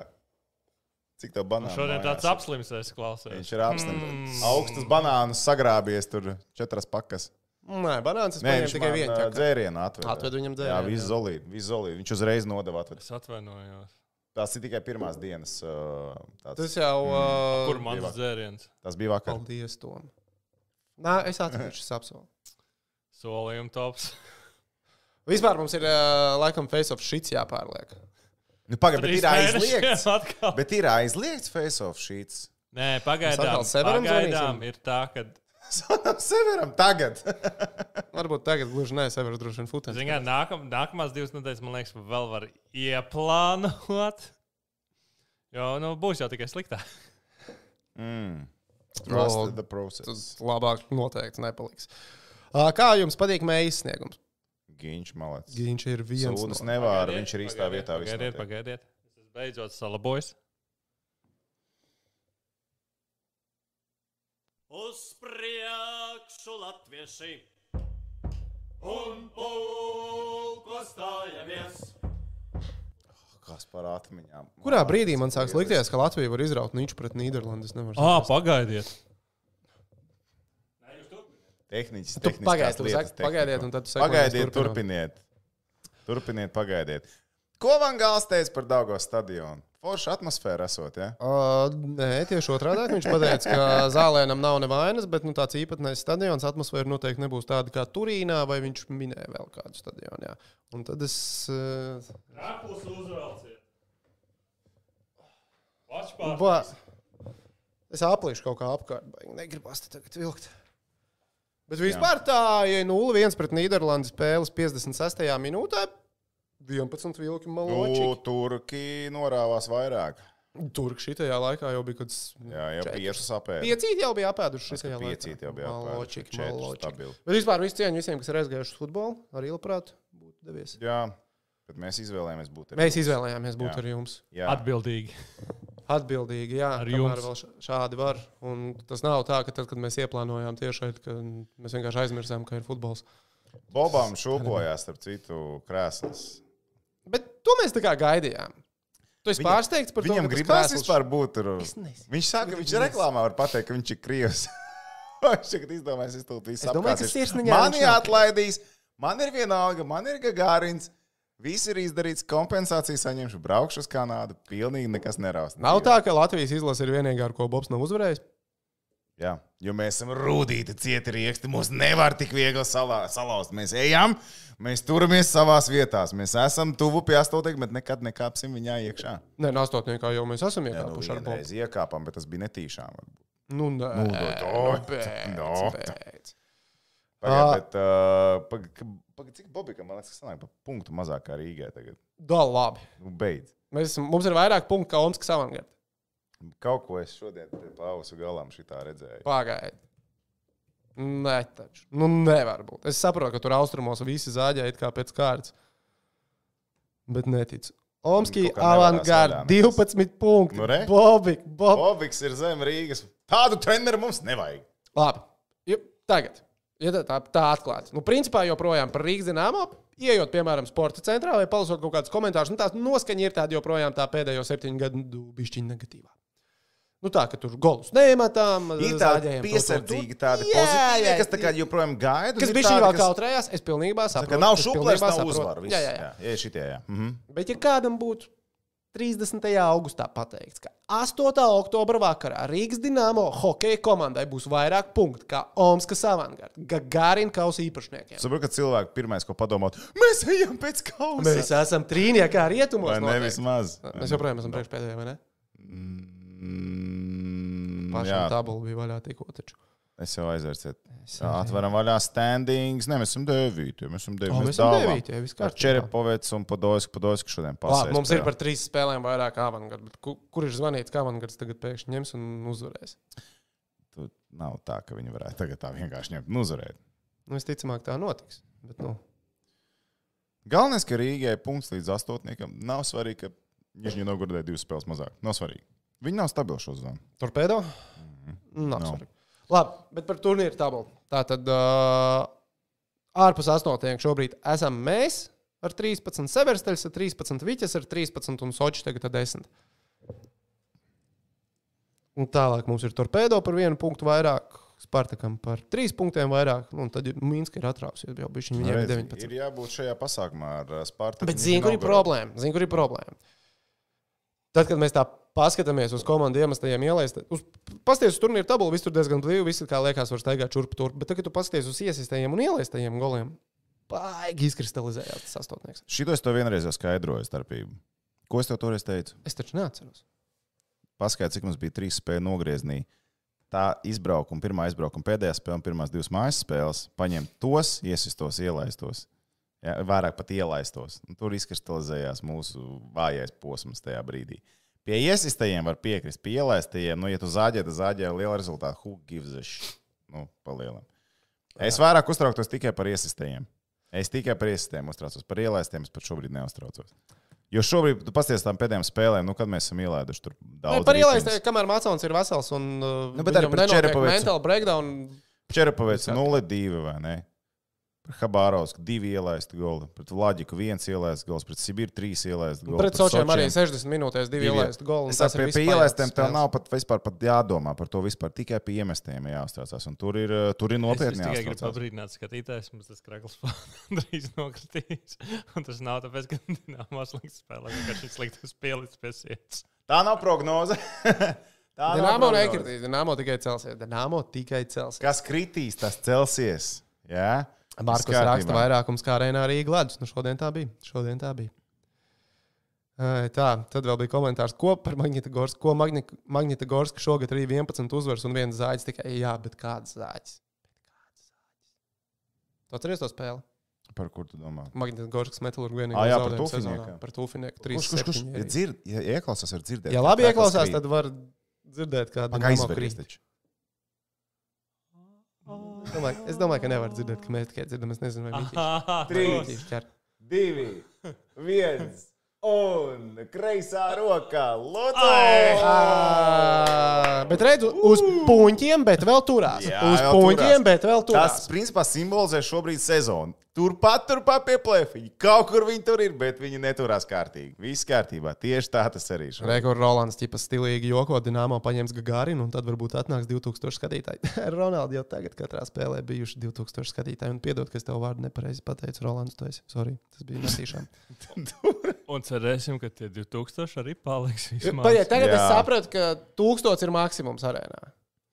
Speaker 2: Cik tev banāna?
Speaker 3: Šodien tāds
Speaker 2: mājās?
Speaker 3: apslims, es klausos.
Speaker 2: Viņš ir apstājies. Mm. Augstas banānas sagrābies tur četras pakas.
Speaker 1: Nē, banāns es
Speaker 2: Nē,
Speaker 1: paņēmu
Speaker 2: viņš
Speaker 1: tikai
Speaker 2: tikai
Speaker 1: vienu.
Speaker 2: vienu
Speaker 1: ķekā.
Speaker 2: dzērienu atveda.
Speaker 1: Atved viņam
Speaker 2: Jā,
Speaker 1: dzērienu,
Speaker 2: viss
Speaker 1: jā.
Speaker 2: zolīti, viss zolīti. Viņš uzreiz nodeva atveda.
Speaker 3: Es atvainojos.
Speaker 2: Tās ir tikai pirmās dienas. uh, Tāds,
Speaker 1: Tas Oh. jau. Uh,
Speaker 3: Kur mans
Speaker 2: divāk.
Speaker 3: dzēriens?
Speaker 2: tas bija vakar.
Speaker 1: Paldies, Tom. Nē, es atceros, es apsolu.
Speaker 3: Solījuma tops.
Speaker 1: Vispār mums ir uh, laikam face-off šits jāpārliek.
Speaker 2: Nu, Pagaid, bet
Speaker 3: Trīs
Speaker 2: ir aizliegts.
Speaker 3: mēnešiem atkal.
Speaker 2: Bet ir aizliegts face-off sheets.
Speaker 3: Nē, pagaidām.
Speaker 1: atkal severam
Speaker 3: Pagaidām
Speaker 1: zvanīsim?
Speaker 3: ir tā, ka.
Speaker 2: Sanam severam tagad.
Speaker 1: Varbūt tagad gluži nē, sevi droši vien futens.
Speaker 3: Zinām, nākam, nākamās divas nedēļas, man liekas, vēl var ieplānot. Jo nu, būs jau tikai sliktāk.
Speaker 2: Mm.
Speaker 1: Lol.
Speaker 2: Trust the process.
Speaker 1: Tas labāk noteikti nepaliks. Uh, kā jums patīk mējas sniegums?
Speaker 2: Viņš malec.
Speaker 1: Viņš ir viens.
Speaker 2: Sūdas
Speaker 1: no...
Speaker 2: nevāra, viņš ir īstā vietā. viss
Speaker 3: Pagaidiet,
Speaker 2: notiek.
Speaker 3: pagaidiet. Es esmu beidzot salabojis.
Speaker 4: Uz priekšu latvieši! Un pulko stājamies!
Speaker 2: Kas par atmiņām?
Speaker 1: Kurā brīdī man sāks likties, ka Latvija var izraut niču pret Nīderlandi? Es nevaru
Speaker 3: Ah, pagaidiet.
Speaker 2: Tehniski.
Speaker 1: Tu pagaidi, tu saki, pagaidiet, un tad tu saki,
Speaker 2: Pagaidiet,
Speaker 1: mēs
Speaker 2: turpiniet. Turpiniet, pagaidiet. Ko Van Gāls teica par Dāngā stadionu? Forša atmosfēra esot, ja?
Speaker 1: Uh, nē, tieši otrādi. Viņš teica, ka zālēnam nav nevainas, bet nu, tāds īpatnējs stadions atmosfēra noteikti nebūs tāda kā Turīnā, vai viņš minēja vēl kādu stadionu. Jā. Un tad es. Uh,
Speaker 3: Apus uzvelciet.
Speaker 1: ba... Es aplīšu kaut kā apkārt, vai negribas te tagad vilkt. Bet vispār tā, ja 0-1 pret Nīderlandes spēles 56. minūtē, 11 vilki maloči.
Speaker 2: Nu, Turki norāvās vairāk.
Speaker 1: Turkšī tajā laikā jau bija kaut kas.
Speaker 2: Jā, jau
Speaker 1: četri.
Speaker 2: piešas apēst.
Speaker 1: Piecīti jau bija apēduši. šajā laikā.
Speaker 2: piecīti jau bija apēduši,
Speaker 1: Maločiki,
Speaker 2: četri
Speaker 1: maločiki.
Speaker 2: stabili.
Speaker 1: Bet vispār visu cieņu visiem, kas ir aizgājuši uz futbolu, arī labprāt būtu devies.
Speaker 2: Jā, bet mēs izvēlējāmies būt ar
Speaker 1: Mēs izvēlējāmies būt
Speaker 2: Jā.
Speaker 1: jā. ar jums.
Speaker 2: Jā,
Speaker 3: Atbildīgi.
Speaker 1: Atbildīgi, jā,
Speaker 3: Ar
Speaker 1: kamēr
Speaker 3: jums.
Speaker 1: vēl ša- šādi var. Un tas nav tā, ka tad, kad mēs ieplānojām tiešai, ka mēs vienkārši aizmirsām, ka ir futbols.
Speaker 2: Bobām šūpojās, starp citu, krēslas.
Speaker 1: Bet to mēs tā kā gaidījām. Tu esi
Speaker 2: Viņam-
Speaker 1: pārsteigts par to, ka
Speaker 2: Viņam
Speaker 1: tas
Speaker 2: gribās
Speaker 1: krēsls-
Speaker 2: vispār būt tur.
Speaker 1: Es nezinu.
Speaker 2: Viņš saka, ka viņš reklāmā var pateikt, ka viņš ir krievs. viņš tagad izdomājis iztūt visu.
Speaker 1: Es domāju, ka
Speaker 2: apkārt.
Speaker 1: sirsniņā
Speaker 2: Mani
Speaker 1: viņš nav
Speaker 2: atlaidīs, man ir viena alga, man ir Gagārins. Viss ir izdarīts, kompensācija saņemšu, braukšu uz Kanādu. Pilnīgi nekas neraust.
Speaker 1: Nav tā, ka Latvijas izlase ir vienīgā, ar ko Bobs nav uzvarējis.
Speaker 2: Jā, jo mēs esam rūtīti, cieti rieksti. Mums nevar tik viegli salā, salauzt. Mēs ejam, mēs turamies savās vietās. Mēs esam tuvu pie astotniekiem, bet nekad nekāpsim viņā iekšā.
Speaker 1: Nē, no astotniekā jau mēs esam
Speaker 2: Jā, nu,
Speaker 1: iekāpuši ar Bobu.
Speaker 2: vienreiz iekāpām, bet tas bija netīšām. varbūt.
Speaker 1: Nu, nē,
Speaker 2: Nu, no,
Speaker 1: pēc,
Speaker 2: no.
Speaker 1: pēc. Ā.
Speaker 2: Pagaidiet, uh, pag, pag, cik Bobika man liekas, ka sanāk par punktu mazāk kā Rīgai tagad.
Speaker 1: Da, labi.
Speaker 2: Nu, beidz.
Speaker 1: Mēs, esam- mums ir vairāk punktu, kā Omska savangard.
Speaker 2: Kaut ko es šodien pie pausu galām šitā redzēju.
Speaker 1: Pagaidiet. Nē, taču. Nu, nevar būt. Es saprotu, ka tur austrumos visi zāģē it kā pēc kārtas. Bet neticu. Omski
Speaker 2: Kaut kā nevarās
Speaker 1: avangarda
Speaker 2: vaļā,
Speaker 1: 12 punkti.
Speaker 2: Nu, re.
Speaker 1: Bobik, Bob.
Speaker 2: Bobiks ir zem Rīgas. Tādu treneru mums nevajag.
Speaker 1: Labi. Ja, tagad. Ja tā, tā, tā atklāti. Nu, principā joprojām par Rīgas dīnāmo. Iejot, piemēram, sporta centrā vai palasot kaut kādus komentārus, nu, tā noskaņa ir tāda joprojām tā pēdējo septiņu gadu bišķiņa negatīvā. Nu tā, ka tur golus nematām,
Speaker 2: Ir tādi
Speaker 1: zāģējam to, to, to.
Speaker 2: piesardzīgi, tādi
Speaker 1: Jā,
Speaker 2: pozitīvi,
Speaker 1: jā,
Speaker 2: kas tā kā joprojām gaida. un
Speaker 1: Kas
Speaker 2: ir
Speaker 1: bija šī
Speaker 2: tādi,
Speaker 1: vēl kautrējās, es pilnībā
Speaker 2: Ka
Speaker 1: saprotu.
Speaker 2: nav
Speaker 1: es
Speaker 2: šūpstās,
Speaker 1: pilnībā
Speaker 2: nav
Speaker 1: saprotu.
Speaker 2: uzvaras.
Speaker 1: Jā, jā, jā.
Speaker 2: jā, šitie, jā. Mhm.
Speaker 1: Bet, ja kādam būtu 30. augustā pateikts, ka 8. oktobra vakarā Rīgas dīnāmo hokeja komandai būs vairāk punktu kā Omaskas avangarda, Gagarina kausa īpašniekiem.
Speaker 2: Saprotu, ka cilvēki pirmais, ko padomā, mēs ejam pēc kausa.
Speaker 1: Mēs esam trīniekā rietumos.
Speaker 2: Vai ne
Speaker 1: noteikti.
Speaker 2: vismaz?
Speaker 1: Mēs joprojām esam priekšpēdējie, vai ne?
Speaker 2: Mm,
Speaker 1: Pašā
Speaker 2: jā,
Speaker 1: tabula bija vaļā tikko. taču.
Speaker 2: es jau aizvērsiet. Atveram vaļā standings. Nē, mēs esam devīti. Mēs esam devīti.
Speaker 1: O, mēs
Speaker 2: mēs
Speaker 1: esam
Speaker 2: tālāk.
Speaker 1: devītie, viss kārtībā.
Speaker 2: Ar Čerepovets un Podolsku. Podolsku šodien pasēs.
Speaker 1: Labi, mums ir par trīs spēlēm vairāk avangarda. bet ku- Kur ir zvanīts, ka avangards tagad pēkšņi ņems un uzvarēs?
Speaker 2: Tur nav tā, ka viņi varētu tagad tā vienkārši ņemt un uzvarēt.
Speaker 1: Nu, visticamāk, tā notiks. Bet, nu,
Speaker 2: Galvenais, ka Rīgai punkts līdz astotniekam nav svarīgi, ka Nižņi nogurdē divas spēles mazāk. Nav svarīgi. Viņi nav stabili šo zonu.
Speaker 1: Torpedo? Nav no. svarīgi. Labi, bet par turnīru tabulu. Tā tad uh, ārpus astotnieka šobrīd esam mēs ar 13 seversteļus, ar 13 viķes, ar 13 un soči tagad ar 10. Un tālāk mums ir torpedo par vienu punktu vairāk, Spartakam par trīs punktiem vairāk, nu, un tad ir Mīnska ir atrausies, jau bija viņa
Speaker 2: Reiz,
Speaker 1: 19.
Speaker 2: Nu, Ir jābūt šajā pasākumā ar ā, Spartaku.
Speaker 1: Bet zini, kur ir problēma? Zini, kur ir problēma? Tad, kad mēs tā paskatāmies uz komandu iemestajiem ielais, tad uz- paskaties uz turnīru tabulu, viss tur diezgan blīvi, viss kā liekas, var staigāt šurp turp. Bet, tad, kad tu paskaties uz iesaistajiem un ielaistajiem goliem, baigi izkristalizējās tas astotnieks.
Speaker 2: Šito es tev vienreiz jau skaidroju starpību. Ko es tev toreiz teicu?
Speaker 1: Es taču neatceros.
Speaker 2: Paskaidro, cik mums bija trīs spēļu nogriezienī. Tā izbraukuma, pirmā izbraukuma, pēdējā spēle un pirmās divas mājas spēles. Paņemt tos, iesistos, ielaistos. Ja, vairāk pat ielaistos. Un tur izkristalizējās mūsu vājais posms tajā brīdī. Pie iesistajiem var piekrist, pie ielaistajiem, nu, ja tu zāģē, tad zāģē ar lielu rezultātu. Who gives a shit? Nu, palielam. Es vairāk uztrauktos tikai par iesistajiem. Es tikai par iesistēm uztraucos, par ielaistiem es pat šobrīd neuztraucos. Jo šobrīd, tu pasties tām pēdējām spēlēm, nu, kad mēs esam ielaiduši tur
Speaker 1: Daudz
Speaker 2: daudz.
Speaker 1: par ielaistajiem, kamēr Mācons ir vesels un uh,
Speaker 2: Nu, bet arī par Čerepovicu.
Speaker 1: mental breakdown.
Speaker 2: Čerapovets 0-2 vai ne? Par Habārovsku 2 ielaistu goli, pret Vladiku 1 ielaistu goli, pret Sibiru 3 ielaistu goli.
Speaker 1: Pret Sočiem arī 60 minūtēs divi
Speaker 2: Divi.
Speaker 1: ielaisti goli.
Speaker 2: Es saprotu, pie, pie ielaistiem tev nav pat, vispār, pat jādomā par to. Vispār tikai pie iemestiem jāuztraucās. Un tur ir, uh, tur ir
Speaker 3: Es es
Speaker 2: nopietni
Speaker 3: tikai gribu
Speaker 2: jāuztraucās.
Speaker 3: pabrīdināt skatītājus, mums tas krāklis drīz nokritīs. Un tas nav tāpēc, ka Dienāmo slikti spēlē, ka šis sliktais pielicis pie sirds.
Speaker 2: Tā nav prognoze. Tā nav
Speaker 1: Dināmo
Speaker 2: prognoze.
Speaker 1: nekritīs, Dināmo tikai celsies. Dināmo tikai celsies.
Speaker 2: Kas kritīs, tas celsies. Jā?
Speaker 1: Markus
Speaker 2: Viss kārtībā.
Speaker 1: raksta vairākums kā arēnā arī gladus. Nu, šodien tā bija. Šodien tā bija. Ai, Tā, tad vēl bija komentārs, ko par Magnitogorsku. Ko Magni- Magnitogorsku šogad arī 11 uzvaras un viens zāģis tikai. Jā, bet kāds zāģis? Tu atceries to spēli?
Speaker 2: Par kur tu domā?
Speaker 1: Magnitogorskas metalurgu vienīgā
Speaker 2: Ā, jā, par
Speaker 1: zaudējuma sezonā.
Speaker 2: Tūfinieku.
Speaker 1: Par tūfinieku.
Speaker 2: Kurš, kurš, kurš? Ja,
Speaker 1: 3-7.
Speaker 2: dzird, ja ieklausās, var dzirdēt.
Speaker 1: Ja labi ieklausās, tad var dzirdēt kādu
Speaker 2: Pagaidzi,
Speaker 1: krīt.
Speaker 2: izvērties.
Speaker 1: Es domāju, es domāju, ka nevar dzirdēt, ka mēs tikai dzirdam. Es nezinu, vai viņi
Speaker 3: Aha,
Speaker 2: Trīs.
Speaker 3: tos.
Speaker 1: to jāsaka.
Speaker 2: divi, viens. Un kreisā rokā
Speaker 1: Ā, Uh, Bet redzu, uz puņķiem, bet vēl turās.
Speaker 2: Jā,
Speaker 1: uz
Speaker 2: vēl
Speaker 1: puņķiem,
Speaker 2: turās.
Speaker 1: bet vēl turās.
Speaker 2: Tas, principā, simbolizē šobrīd sezonu. Turpat, turpat pie plēfiņa. Kaut kur viņi tur ir, bet viņi neturās kārtīgi. Viss kārtībā. Tieši tā tas arī ir.
Speaker 1: Rekords Rolands tipa stilīgi joko, Dienāmo paņems Gagarinu, un tad varbūt atnāks 2000 skatītāji. Ronaldi jau tagad katrā spēlē bijuši 2000 skatītāji, un piedod, ka es tev vārdu nepareizi pateicu, Rolands, tu esi. Sorry, tas bija nesīšām.
Speaker 3: Un cerēsim, ka tie 2000 arī paliks. vismaz.
Speaker 1: Pagaidiet, tagad
Speaker 2: Jā.
Speaker 1: es sapratu, ka 1000 ir maksimums arēnā.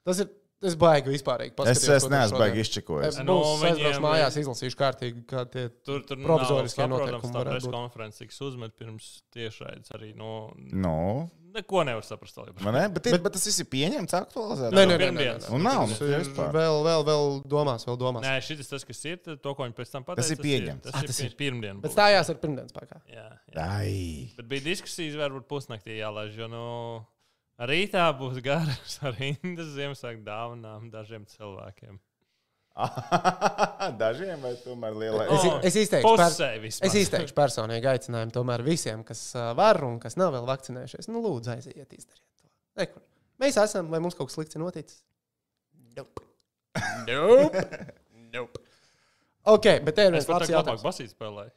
Speaker 1: Tas ir Es baigi vispār.
Speaker 2: Es, es neesmu baigi izčekojis.
Speaker 1: Es
Speaker 3: Nu,
Speaker 1: būs aizbraukšu
Speaker 3: viņiem-
Speaker 1: mājās, izlasīšu kārtīgi, kā tie
Speaker 3: Tur tur
Speaker 1: Provizoriskie
Speaker 3: nav
Speaker 1: noteikumi
Speaker 3: saprotams, tā
Speaker 1: varētu
Speaker 3: presa
Speaker 1: būt.
Speaker 3: konferences, kas uzmet pirms tiešraides arī. No,
Speaker 2: Nu,
Speaker 3: neko nevar saprast.
Speaker 2: vai ne? Bet, bet, bet tas viss ir pieņemts, aktualizēts.
Speaker 1: Nē, nē, nē, nē,
Speaker 3: pirmdienas.
Speaker 1: nē.
Speaker 2: Nu, nav.
Speaker 1: Tas
Speaker 2: Nu,
Speaker 1: ir
Speaker 2: vispār.
Speaker 1: vēl, vēl, vēl domās, vēl domās.
Speaker 3: Nē, šis tas, kas ir, tad to, ko viņi pēc tam pateica.
Speaker 2: Tas ir pieņemts.
Speaker 3: Tas
Speaker 2: Ah,
Speaker 3: ir, tas ir pirmdien.
Speaker 1: Bet
Speaker 3: būs.
Speaker 1: stājās ar pirmdienas pakā.
Speaker 3: Jā, jā.
Speaker 2: Ai.
Speaker 3: Bet bija diskusijas, varbūt pusnaktī jālaiž. Jo nu, rītā būs garas rindas Ziemassvētku dāvanām dažiem cilvēkiem.
Speaker 2: Dažiem vai tomēr lielai?
Speaker 1: Es,
Speaker 3: O,
Speaker 1: es, izteikšu,
Speaker 3: Pusē
Speaker 1: es
Speaker 3: vismaz.
Speaker 1: izteikšu personīgi aicinājumu tomēr visiem, kas ā, var un kas nav vēl vakcinējušies. Nu, lūdzu, aiziet, izdariet to. Rekur. Mēs esam, vai mums kaut kas slikts ir noticis? Nope.
Speaker 3: Nope. Nope.
Speaker 1: Ok, bet te ir viens
Speaker 3: Es pat
Speaker 1: labs
Speaker 3: tādu labāk
Speaker 1: jautājums.
Speaker 3: basīt spēlēju.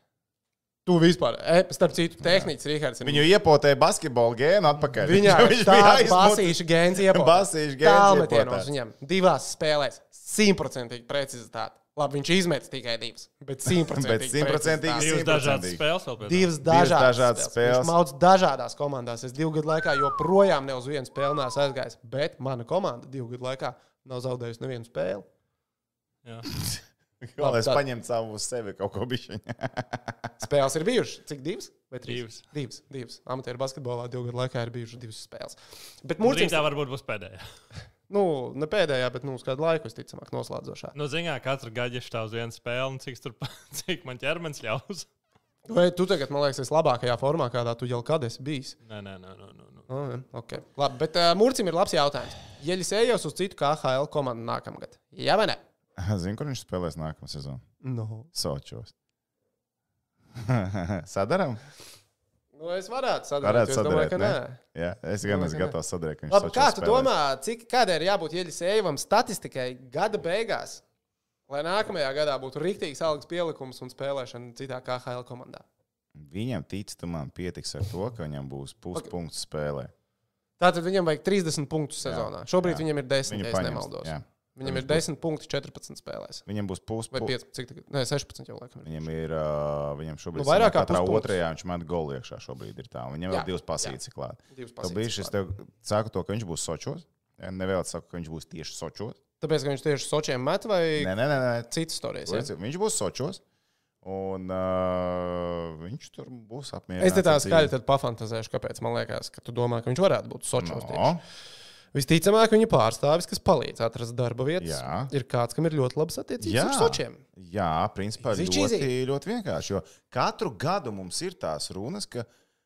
Speaker 1: Tu vispār, e, starp citu, tehnicis Rīgards.
Speaker 2: Viņu iepotēja basketbolu gēnu atpakaļ.
Speaker 1: Viņa
Speaker 2: Viņš
Speaker 1: tā
Speaker 2: bija aizmucis.
Speaker 1: basīša gēns iepūta.
Speaker 2: Basīšu gēns
Speaker 1: Tālmetienos
Speaker 2: iepotēts.
Speaker 1: viņam divās spēlēs simtprocentīgi precizitāte. Labi, viņš izmet tikai divas, bet
Speaker 2: Bet
Speaker 1: simtprocentīgi.
Speaker 2: simtprocentīgi
Speaker 1: precizitāte.
Speaker 3: Divas dažādas spēles vēl pēc
Speaker 1: Divas dažādas,
Speaker 2: dažādas
Speaker 1: dažādas spēles.
Speaker 2: spēles.
Speaker 1: Viņš maudz dažādās komandās. Es divu gadu laikā joprojām ne uz vienu spēli neesmu aizgājis, bet mana komanda divu gadu laikā nav zaudējusi nevienu spēli.
Speaker 3: Jā.
Speaker 2: Lai
Speaker 1: Labi,
Speaker 2: es
Speaker 1: tā-
Speaker 2: paņemtu savu uz sevi kaut ko bišķiņu.
Speaker 1: Spēles ir bijušas. Cik divas? Vai trīs?
Speaker 3: Divas.
Speaker 1: Divas. divas. Amatieru basketbolā divu gadu laikā ir bijušas divas spēles. Bet
Speaker 3: Mūžīgi
Speaker 1: mūžīgi,
Speaker 3: tā varbūt būs pēdējā.
Speaker 1: nu, ne pēdējā, bet nu, uz kādu laiku, visticamāk, noslēdzošā.
Speaker 3: Nu, zinām, katru gadu ir tā uz vienu spēli, un cik, tur, cik man ķermenis ļaus.
Speaker 1: Vai tu tagad, man liekas, esi labākajā formā, kādā tu jau kad esi bijis?
Speaker 3: Nē, nē, nē, nē. nē, nē.
Speaker 1: Nu, jā, Okay. Labi, bet uh, Mūrcim ir labs jautājums. Ja es eju uz citu KHL komandu nākamgad, jā vai nē?
Speaker 2: Zinu, kur viņš spēlēs nākamā sezonā.
Speaker 1: No.
Speaker 2: Sočos. Sadaram?
Speaker 1: Nu, es varētu sadarboties.
Speaker 2: Varētu
Speaker 1: Es domāju,
Speaker 2: sadarīt.
Speaker 1: ka
Speaker 2: Ne?
Speaker 1: nē.
Speaker 2: Jā, es gan
Speaker 1: Domāju,
Speaker 2: esmu
Speaker 1: ka
Speaker 2: gatavs sadarīt.
Speaker 1: Labi, kā tu domā, cik, kādai ir jābūt ieļas ejam statistikai gada beigās, lai nākamajā gadā būtu rīktīgs algas pielikums un spēlēšana citā KHL komandā?
Speaker 2: Viņam ticamam pietiks ar to, ka viņam būs puspunkts spēlē.
Speaker 1: Tātad viņam vajag 30 punktus sezonā. Šobrīd
Speaker 2: jā.
Speaker 1: jā. viņam ir 10,
Speaker 2: Viņu
Speaker 1: ja es
Speaker 2: paņems,
Speaker 1: nemaldos.
Speaker 2: jā.
Speaker 1: Viņam ir 10 punkti 14 spēlēs.
Speaker 2: Viņam būs
Speaker 1: Vai
Speaker 2: puspunkts.
Speaker 1: 5, cik tagad? Nē, 16 jau laikam. ir.
Speaker 2: Viņam ir, uh, viņam šobrīd
Speaker 1: Nu, vairāk kā
Speaker 2: katrā
Speaker 1: puspunkts.
Speaker 2: otrajā viņš met golu iekšā šobrīd ir tā. un Viņam
Speaker 1: Jā,
Speaker 2: vēl divas
Speaker 1: jā.
Speaker 2: pasītas klāt.
Speaker 1: Divas
Speaker 2: Tu
Speaker 1: pasītas
Speaker 2: bijuši, es
Speaker 1: klāt.
Speaker 2: tev saku to, ka viņš būs Sočos. Nevēlas saku, ka viņš būs tieši Sočos.
Speaker 1: Tāpēc, ka viņš tieši sočiem met vai
Speaker 2: Nē, nē, nē, nē
Speaker 1: citas stāstus.
Speaker 2: Līdz, viņš būs Sočos. Un uh, viņš tur būs apmierināts.
Speaker 1: Es te tā
Speaker 2: ar dzīvi.
Speaker 1: skaļi tad pafantazēšu, kāpēc man liekas, ka tu domā, ka viņš varētu būt Sochos. No.
Speaker 2: No,
Speaker 1: Visticamāk, viņa pārstāvis, kas palīdz atrast darba vietas,
Speaker 2: Jā.
Speaker 1: ir kāds, kam ir ļoti labs attiecības
Speaker 2: Jā.
Speaker 1: ar Sochiem.
Speaker 2: jā, principā
Speaker 1: Easy
Speaker 2: ļoti,
Speaker 1: cheesy.
Speaker 2: ļoti vienkārši. Jo katru gadu mums ir tās runas, ka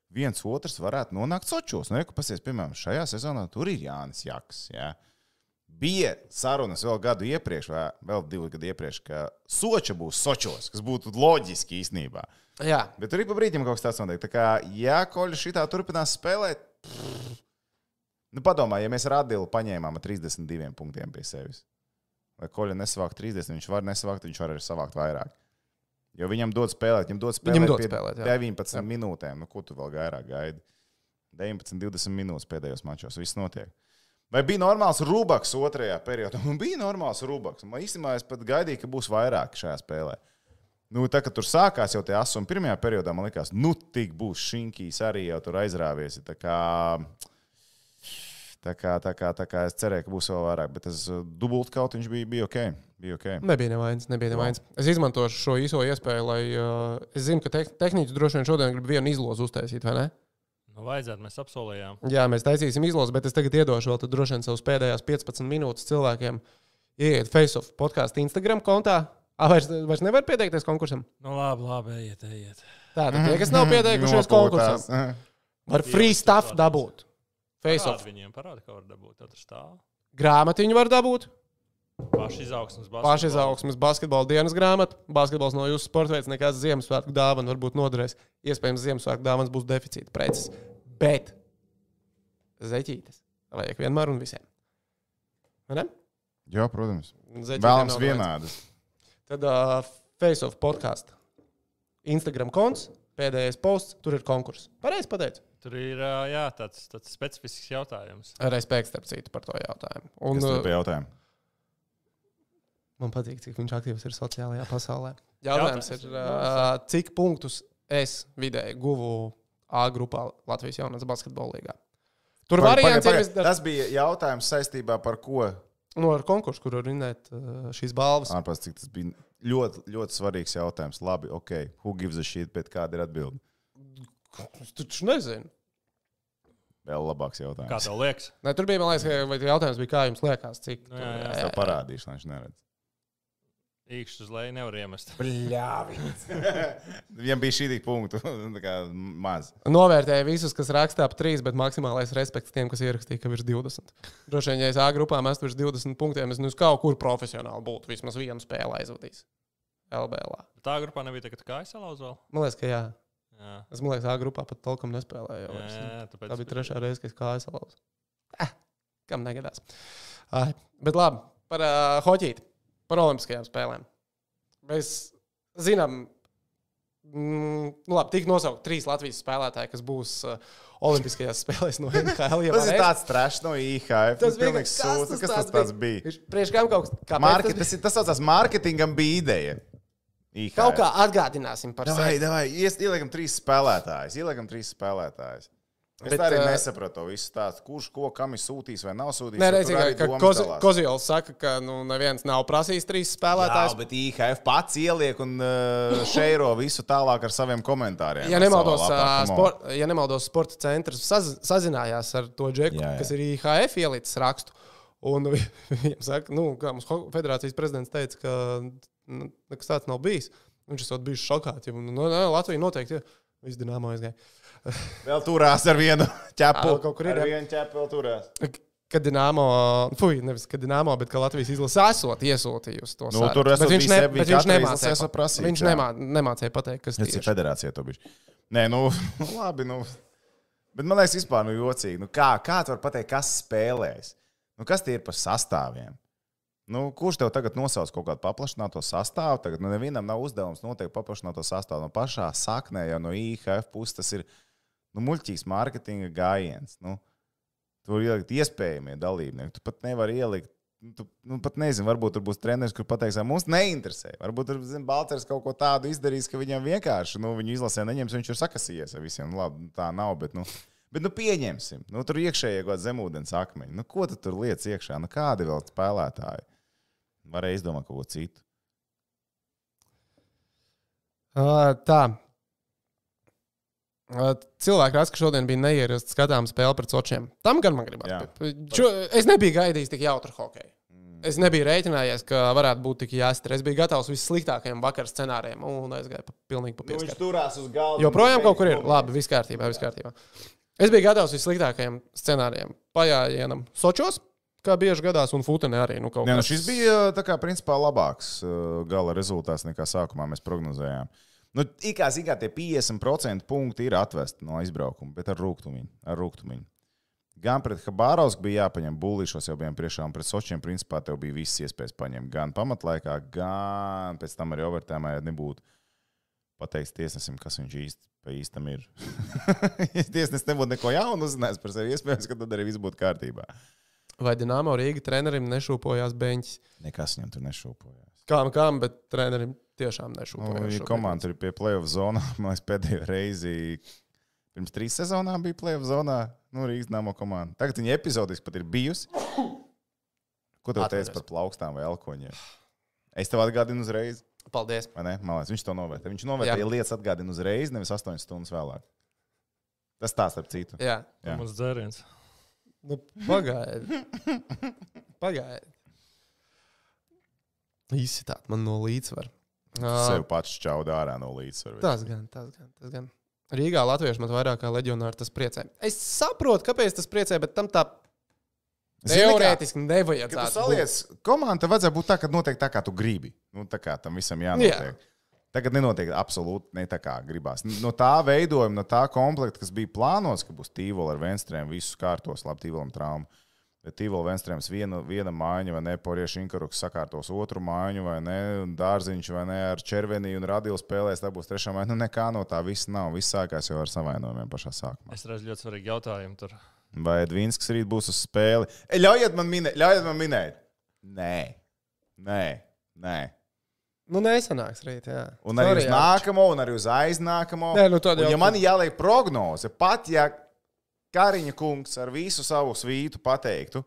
Speaker 2: viens otrs varētu nonākt Sočos. Nu, ja, ka pasies, piemēram, šajā sezonā tur ir Jānis Jaks. Jā. Bija sarunas vēl gadu iepriekš, vai vēl divu gadu iepriekš, ka Soča būs Sočos, kas būtu loģiski īstenībā.
Speaker 1: Jā,
Speaker 2: Bet tur ir pa brīdim kaut kas tāds notiek. Tā kā, ja Koļa šitā turpinās spēlēt, pff. nu padomā, ja mēs ar Adilu paņēmām ar 32 punktiem pie sevis. Lai Koļa nesavāktu 30, viņš var nesavākt, viņš var arī savākt vairāk. Jo viņam dod spēlēt, viņam dod spēlēt,
Speaker 1: Viņam dod
Speaker 2: pie
Speaker 1: spēlēt, jā.
Speaker 2: 19 jā. minūtēm. Nu, ko tu vēl vairāk gaidi? 19, 20 minūtes pēdējos mačos. Viss notiek. Vai bija normāls rubaks otrajā periodā? Man bija normāls rubaks. Man īstenībā es pat gaidīju, ka būs vairāk šajā spēlē. Nu, tā kā tur sākās jau tie asumi pirmajā periodā, man liekas, nu, tik būs šinkīs arī jau tur aizrāvies. Tā kā, tā kā, tā kā, tā kā es cerēju, ka būs vēl vairāk, bet tas dubult kaut viņš bija, bija ok. Bija ok.
Speaker 1: nebija nevainas, nebija nevainas. Es izmantošu šo īso iespēju, lai uh, es zinu, ka te tehniķis droši vien šodien grib vienu izlozi uztaisīt, vai ne?
Speaker 3: Nu, vajadzētu, mēs apsolījām.
Speaker 1: Jā, mēs taisīsim izlozi, bet es tagad iedošu vēl tad droši vien savus pēdējās 15 minūtes cilvēkiem. Iet Facebook podkāstu Instagram kontā. Ah, vairs, vairs nevar pieteikties konkursam.
Speaker 3: Nu, labi, labi, ejiet, ejiet.
Speaker 1: Tātad
Speaker 2: Mhm.
Speaker 1: tie, kas
Speaker 2: Mm,
Speaker 1: nav pieteikušies konkursam, var free stuff dabūt.
Speaker 3: Parādi
Speaker 1: Facebook
Speaker 3: viņiem parāda, ka var dabūt otru stāvu.
Speaker 1: grāmatiņu var dabūt,
Speaker 3: Pašizaugsmes basketbolu.
Speaker 1: pašizaugsmes basketbola dienas grāmatu. Basketbols nav jūsu sports veids, nekāds Ziemassvētku dāvana varbūt noderēs. Iespējams, Ziemassvētku dāvāns būs deficīta preces. Bet zeķītes vajag vienmēr un visiem. Vai Ne?
Speaker 2: Jā, protams.
Speaker 1: Zeķītēm
Speaker 2: Vēlams
Speaker 1: nav vajadz.
Speaker 2: vienādas.
Speaker 1: Tad uh, Face of podkāstu. Instagram konts, pēdējais posts, tur ir konkurss. Pareizi pateicu.
Speaker 3: Tur ir ā, jā, tāds, tāds specifisks jautājums.
Speaker 1: Respekts, starp citu, par to jautājumu. Un,
Speaker 2: Un,
Speaker 1: uh,
Speaker 2: es pie jautājumu.
Speaker 1: Man patīk, cik viņš aktīvs ir sociālajā pasaulē. Jautājums ir, uh, cik punktus es vidēji guvu A grupā Latvijas jaunatnes basketbolā? Tur
Speaker 2: Pagaid,
Speaker 1: variants ir
Speaker 2: pagaid, pagaid.
Speaker 1: visdažādākais.
Speaker 2: Tas bija jautājums saistībā par ko
Speaker 1: Nu, ar konkursu, kur var vinēt uh, šīs balvas.
Speaker 2: Ārpus, cik tas bija ļoti, ļoti svarīgs jautājums. Labi, ok, who gives a shit, bet kāda ir atbilde?
Speaker 1: Es taču nezinu.
Speaker 2: Vēl labāks
Speaker 3: Kā
Speaker 2: jautājums.
Speaker 3: tev liekas?
Speaker 1: Ne, tur bija, man liekas, ka- vai jautājums bija, kā jums liekas, cik.
Speaker 3: Nu, jā, jā.
Speaker 2: Es tev parādīšu, lai viņš neredz.
Speaker 3: Īkšķis uz leju nevar iemest.
Speaker 2: Viņam bija šī tik punktu, tā kā maz.
Speaker 1: Novērtēju visus, kas rakstā ap 3, bet maksimālais respekts tiem, kas ierakstīja, ka virs 20. Droši vien, ja es A grupā mestu virs 20 punktiem, es nu uz kaut kur profesionāli būtu. Vismaz vienu spēli aizvadījis. LBL.
Speaker 3: Tā grupā nebija tagad kājas salauz vēl.
Speaker 1: Man liekas, ka jā.
Speaker 3: Jā,
Speaker 1: Es domāju, ka A grupā pat tolkam nespēlēju. jau
Speaker 3: jā,
Speaker 1: vairs.
Speaker 3: jā, tāpēc.
Speaker 1: Tā bija trešā reize, kad es kājas salauzu. Eh, kam negadās? Ai, bet labi, par uh, hoķīti, par olimpiskajām spēlēm. Mēs zinām, mm, nu labi, tik nosaukt trīs Latvijas spēlētāji, kas būs uh, Olimpiskajās spēlēs no NHL.
Speaker 2: Tas ir tāds trash no IHF. Tas bija
Speaker 1: vienkārši-
Speaker 2: tas sūds, Nu, kas tas tāds bija.
Speaker 1: Viņš Priekš kā kaut kā
Speaker 2: Market, tas ir tas, kas mārketingam bija ideja. IHF.
Speaker 1: Kaut kā atgādināsim par
Speaker 2: Davai,
Speaker 1: sevi.
Speaker 2: davai, ies- ieliekam trīs spēlētājus. Ieliekam trīs spēlētājus. Es
Speaker 1: Bet,
Speaker 2: Bet, arī
Speaker 1: ā,
Speaker 2: nesapratu to visu tādu, kurš ko kam ir sūtījis vai nav sūtījis.
Speaker 1: Nē,
Speaker 2: jo tur
Speaker 1: reizē,
Speaker 2: arī
Speaker 1: ka
Speaker 2: domas dalās.
Speaker 1: Koziols saka, ka nu, neviens nav prasījis trīs
Speaker 2: Jā,
Speaker 1: spēlētājus.
Speaker 2: bet IHF pats ieliek un uh, šeiro visu tālāk ar saviem komentāriem.
Speaker 1: Ja
Speaker 2: Ar
Speaker 1: nemaldos, eh,
Speaker 2: savā
Speaker 1: ā,
Speaker 2: lapā, come on.
Speaker 1: spor, ja nemaldos, sporta centrs saz, sazinājās ar to džeku, jā,
Speaker 2: Jā,
Speaker 1: jā.
Speaker 2: jā.
Speaker 1: kas ir IHF ielicis rakstu. Un vi- viņam saka, nu, kā mums ho- federācijas prezidents teica, ka nu, nekas tāds nav bijis. Viņš esot bijis šokāts. Ja, nu, nu, Latvija noteikti ir. Viss dināmā aizgāja.
Speaker 2: Vēl turās ar vienu ķepu.
Speaker 1: Ā, kaut kur ir,
Speaker 2: Ar
Speaker 1: jā.
Speaker 2: vienu ķepu vēl turās.
Speaker 1: Kad dināmā, fuj, nevis kad dināmā, bet ka Latvijas izlase esot iesūtījusi to
Speaker 2: Nu,
Speaker 1: sarakstu.
Speaker 2: tur
Speaker 1: Bet
Speaker 2: esot
Speaker 1: viņš,
Speaker 2: bija
Speaker 1: ne,
Speaker 2: sevi
Speaker 1: bet viņš
Speaker 2: katra
Speaker 1: nemācīja.
Speaker 2: izlasē esot prasīts,
Speaker 1: viņš
Speaker 2: jā.
Speaker 1: nemā, nemācīja pateikt, kas
Speaker 2: Tas
Speaker 1: tas
Speaker 2: ir
Speaker 1: ir.
Speaker 2: federācija, to bišķi. Nē, nu, labi. Nu. Bet man liekas, vispār nu, jocīgi. Nu, kā, kā tu vari pateikt, kas spēlēs? Nu, kas tie ir par sastāviem? Nu, kurš tev tagad nosauc kaut kādu paplašināto sastāvu? Tagad nu, nevienam nav uzdevums noteikti paplašināto sastāvu. No pašā saknē, jau no IHF puses, tas ir nu, muļķīgs mārketinga gājiens. Nu, tur ielikt iespējamie dalībnieki. Tu pat nevari ielikt. nu, Tu, nu, pat nezinu, varbūt tur būs treneris, kurš pateiks, "Ā, mums neinteresē. Varbūt tur zin, Balčers kaut ko tādu izdarīs, ka viņam vienkārši nu, viņu izlasē neņems, viņš ir sakasījies ar visiem. Nu, Labi, nu, tā nav. Bet, nu, bet nu, pieņemsim, nu, tur iekšējie kaut kādi zemūdens akmeņi. Nu, ko tu tur lietas iekšā? Nu, kādi vēl spēlētāji? Varēja izdomāt kaut ko citu.
Speaker 1: Ā, Tā. Ā, Cilvēki rāda, ka šodien bija neierasts skatāms spēle pret sočiem. Tam gan man gribētu.
Speaker 2: Jā. Mm.
Speaker 1: pie- Šo, es nebiju gaidījis tik jautru hokeju. Es nebiju rēķinājies, ka varētu būt tik jāstrādā. Es biju gatavs vissliktākajiem vakar scenārijiem un aizgāju pa, pilnīgi pa
Speaker 2: Nu,
Speaker 1: pieskārienu.
Speaker 2: turās uz galda. nu,
Speaker 1: Joprojām kaut kur ir. Labi, viss kārtībā, viss kārtībā. Es biju gatavs vissliktākajiem scenārijiem. Pajājienam Sočos, kā bieži gadās, un Futenē arī. Nu, kaut
Speaker 2: Nē, nu
Speaker 1: kas-
Speaker 2: šis bija tā kā, principā labāks uh, gala rezultāts nekā sākumā mēs prognozējām. Nu, ikā zigā tie 50% punkti ir atvesti no izbraukuma, bet ar rūkumiņu. Ar rūktumiņu. Gan pret Habārovsku bija jāpaņem bullīšos, jau bijām priekšā, un pret Sočiem principā tev bija visas iespējas paņemt. Gan pamatlaikā, gan pēc tam arī overtēmā, ja nebūtu pateiks tiesnesim, kas viņš īsti pa īstam ir. ja tiesnesis nebūtu neko jaunu uzzinājis par sevi, iespējams, ka tad arī viss būtu kārtībā.
Speaker 1: Vai Dienāmo Rīga trenerim nešūpojās beņķis?
Speaker 2: Nekas viņam tur nešūpoja.
Speaker 1: Kam, kam, bet trenerim tiešām
Speaker 2: Nu,
Speaker 1: nešūpojās.
Speaker 2: ja
Speaker 1: šobrīd.
Speaker 2: komanda ir pie playoff zonas, man liekas, pēdējo reizi pirms trīs sezonām bija playoff zonā. Nu, Rīgas nama komanda. Tagad viņa epizodiski pat ir bijusi. Ko tu
Speaker 1: Atveries.
Speaker 2: teici par plaukstām vai elkoņiem? Es tev atgādinu uzreiz,
Speaker 1: Paldies.
Speaker 2: vai ne? Man liekas, viņš to novērtē. Viņš novērtē,
Speaker 1: Jā.
Speaker 2: ja lietas atgādina uzreiz, nevis astoņas stundas vēlāk. Tas tā starp citu.
Speaker 1: Jā,
Speaker 2: Jā.
Speaker 3: Mums dzēriens.
Speaker 1: nu, pagaidiet. Pagaidiet. Izsitāt man no līdzsvara. Ā,
Speaker 2: Sev pats čaudā ārā no līdzsvara.
Speaker 1: Tas gan, tas gan, tas gan. Rīgā latvieši man vairāk kā leģionāri tas priecē. Es saprotu, kāpēc tas priecē, bet tam tā
Speaker 2: Zini, kā?
Speaker 1: teorētiski
Speaker 2: Kad tu
Speaker 1: nevajadzētu. būt.
Speaker 2: saliec komandu, vajadzēja būt tā, ka notiek tā, kā tu gribi. Nu, tā kā tam visam jānotiek. Jā. Tagad nenotiek absolūti ne tā, kā gribās. No tā veidojuma, no tā komplekta, kas bija plānots, ka būs tīvola ar Venstrēm, visus kārtos, labi, tīvolam traumu. Bet tīvola Venstrēms viena, viena mājiņa, vai ne, porieši inkaruks sakārtos otru mājiņu, vai ne, un dārziņš, vai ne, ar červenī un radīlu spēlēs, tā būs trešā mājiņa. Nu, nekā no tā viss nav. Viss sākās jau ar savainojumiem pašā sākumā.
Speaker 3: Es redzu ļoti svarīgu jautājumu tur.
Speaker 2: Vai Edvīns rīt būs uz spēli? E, ļaujiet man minēt, ļaujiet man minēt. Nē, nē, nē.
Speaker 1: Nu, nesanāks rīt, jā.
Speaker 2: Un arī
Speaker 1: Sorry,
Speaker 2: uz
Speaker 1: jā.
Speaker 2: nākamo, un arī uz aiznākamo.
Speaker 1: Nē, nu tad
Speaker 2: Un
Speaker 1: jau
Speaker 2: ja man jāliek prognoze, pat ja Kariņa kungs ar visu savu svītu pateiktu,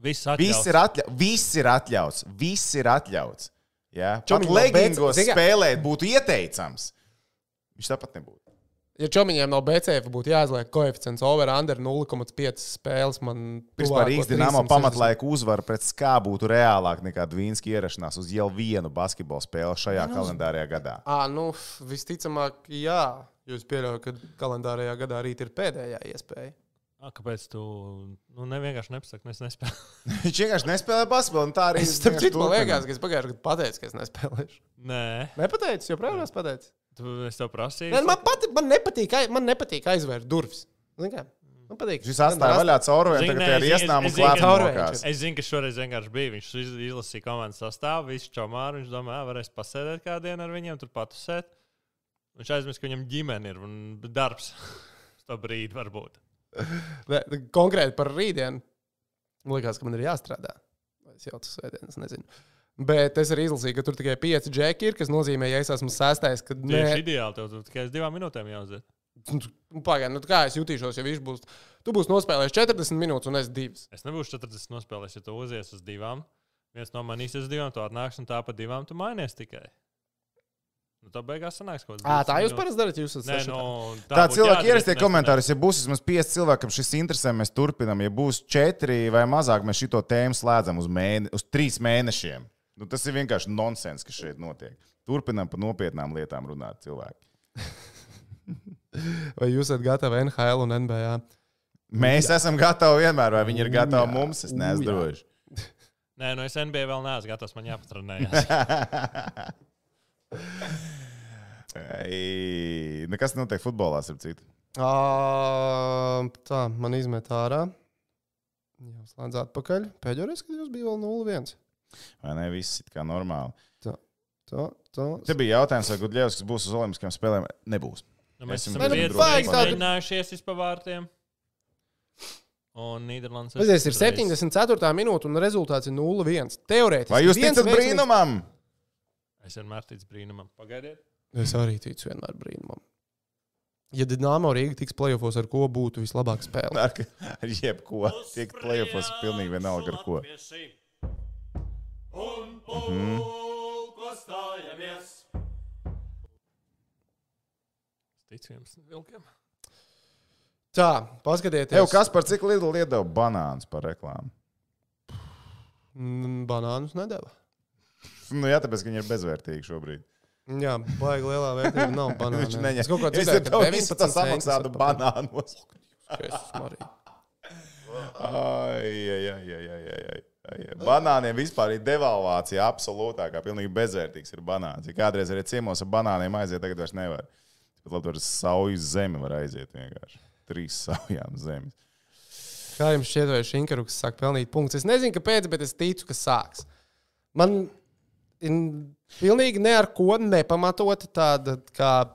Speaker 3: Viss atļauts.
Speaker 2: Viss ir, atļa... Viss ir atļauts. Viss ir atļauts. Ja? Pat
Speaker 1: Čomiņ, nav
Speaker 2: leggingos
Speaker 1: beidzas-
Speaker 2: spēlēt būtu ieteicams. Viņš tāpat nebūtu.
Speaker 1: Ja čomiņiem no BCF būtu jāizliek koeficients over under 0,5 spēles, man
Speaker 2: Vispār
Speaker 1: tuvāko
Speaker 2: Rīgas dīnāmā
Speaker 1: 360.
Speaker 2: pamatlaika uzvara pret SKA būtu reālāk nekā Dvīnska ierašanās uz jau vienu basketbalu spēli šajā kalendārajā gadā.
Speaker 1: Ā, nu, visticamāk, jā. Jūs pieļaujat, ka kalendārajā gadā rīt ir pēdējā iespēja.
Speaker 3: A, kāpēc tu nu, ne, vienkārši nepasaki, nu, es nespēju?
Speaker 2: Viņš vienkārši nespēlēja basketbolu, un tā arī
Speaker 1: Es tam
Speaker 2: vienkārši
Speaker 1: citam
Speaker 2: turpina.
Speaker 1: liekas, ka es pagājušajā gadā pateicu, ka es nespēlēšu.
Speaker 3: Nē,
Speaker 1: Nepateicu, joprojām es pateicu.
Speaker 3: tu, es tev prasīju.
Speaker 1: Nē, nu, man, pati, man, nepatīk, ai- man nepatīk aizvērt durvis. Zini kā? Man patīk.
Speaker 2: Šis atstāja vaļā caurvēju,
Speaker 3: Zini,
Speaker 2: tagad
Speaker 3: nē,
Speaker 2: tie ir
Speaker 3: es- es-
Speaker 2: iesnām un
Speaker 3: es zinu, ka-
Speaker 2: klātmokās.
Speaker 3: Es zinu, ka šoreiz vienkārši bija. Viņš iz- izlasīja komandas sastāvu, visu čomāru. Viņš domāja, varēs pasēdēt kādu dienu ar viņiem, tur patusēt. Viņš aizmirst, ka viņam ģimene ir un darbs. Uz to brīdi varbūt.
Speaker 1: Nē, Konkrēti par rītdienu. Man liekas, ka man ir jāstrādā. Vai Es jau tas svētdienas nezinu. Bet es arī izlasīju, ka tur tikai pieci džeki ir, kas nozīmē, ja es esmu sastais, tad
Speaker 3: Tieši
Speaker 1: nē,
Speaker 3: ideāli tev tur tikai uz divām minūtēm jāuziet.
Speaker 1: pagaidi, nu kā es jutīšos, ja viņš būs. Tu būsi nospēlējis 40 minūtes un es divas.
Speaker 3: Es nebūšu 40 nospēlējis, ja tu uzies uz divām. Viens no manīs uz divām, tu atnāks un tā pa divām tu mainies tikai. Nu, tā beigās sanāks kaut kas.
Speaker 1: Ā, tā jūs parasti darat, jūs esat
Speaker 3: Nē,
Speaker 1: sešatā.
Speaker 3: nu,
Speaker 2: Tā
Speaker 3: būtu
Speaker 2: cilvēki
Speaker 3: jādarīt,
Speaker 2: ierastie
Speaker 3: nespēlē.
Speaker 2: komentārus, ja būs vismaz pieci cilvēki, kam šis interesē, mēs turpinām. Ja būs četri vai mazāk, mēs šo tēmu slēdzam uz, mēne, uz trīs mēnešiem. Nu, tas ir vienkārši nonsens, kas šeit notiek. Turpinām par nopietnām lietām runāt cilvēki.
Speaker 1: Vai jūs esat gatavi NHL un NBA?
Speaker 2: Mēs jā. esam gatavi vienmēr, vai viņi ir
Speaker 1: Ujā,
Speaker 2: gatavi jā. mums, es
Speaker 1: ujā.
Speaker 2: neesmu drošs.
Speaker 3: Nē, nu es NBA vēl neesmu gatavs, man jāpatrenējas.
Speaker 2: Ei, nu, Kas notiek futbolā, ap citu?
Speaker 1: Ā, Tā, man izmet ārā. Jau slēdz atpakaļ. Pēdējo reizi, kad jūs bijat vēl 0-1.
Speaker 2: Vai ne viss ir kā normāli?
Speaker 1: Tā, tā.
Speaker 2: Te bija jautājums, vai Gudļevs, kas būs uz Olimpiskajām spēlēm, nebūs.
Speaker 3: Nu, mēs
Speaker 2: Esam
Speaker 3: esam
Speaker 2: droši.
Speaker 3: biedri,
Speaker 1: Nu, vajag tādu-
Speaker 3: mēģinājušies izpavārtiem. Un Nīderlandes
Speaker 1: Pazies, ir
Speaker 3: uzreiz.
Speaker 1: 74. minūte, un rezultāts ir 0-1. Teorētiski.
Speaker 2: Vai jūs
Speaker 1: viens
Speaker 2: ticat
Speaker 1: veiksmīgs-
Speaker 2: brīnumam?
Speaker 3: Es vienmēr ticu brīnumam. Pagaidiet.
Speaker 1: Es arī ticu vienmēr brīnumam. Ja Dienāmo Rīga tiks plēsofos, ar ko būtu vislabāk spēlēt?
Speaker 2: Ar, ar jebko. Tiek plēpos pilnīgi vienalga ar ko.
Speaker 4: Un
Speaker 1: Mhm.
Speaker 4: pulko stājamies.
Speaker 3: Es ticu jums, vilkiem.
Speaker 1: Tā, paskatieties,
Speaker 2: Tev kas par cik lielu lietu banāns par reklāmu?
Speaker 1: Mm, banānus nedēļa.
Speaker 2: Nu, jā, tāpēc, ka viņi ir bezvērtīgi šobrīd.
Speaker 1: Jā, baigi lielā vērtība nav banāna.
Speaker 2: Viņš neņem.
Speaker 1: Es kaut kā
Speaker 2: Es
Speaker 1: dzirdēju, ka
Speaker 2: tev visu tā
Speaker 1: 19 centus
Speaker 2: samaksātu
Speaker 1: atpakaļ.
Speaker 2: banānos.
Speaker 1: Jēzus Marija.
Speaker 2: Ai, ai, ai, ai, ai, ai, ai, ai. Banāniem vispār ir devalvācija absolūtākā. Pilnīgi bezvērtīgs ir banāns. Ja kādreiz arī ciemos ar banāniem aiziet, tagad vairs nevar. Pat labi, tur ar sauju zemi var aiziet vienkārši. Trīs saujām zemes.
Speaker 1: Kā jums šķiet, vai Šinkaruks sāk pelnīt punktus? Es nezinu, kāpēc, bet es ticu, ka sāks. Man ir pilnīgi ne ar ko nepamatota tāda, kā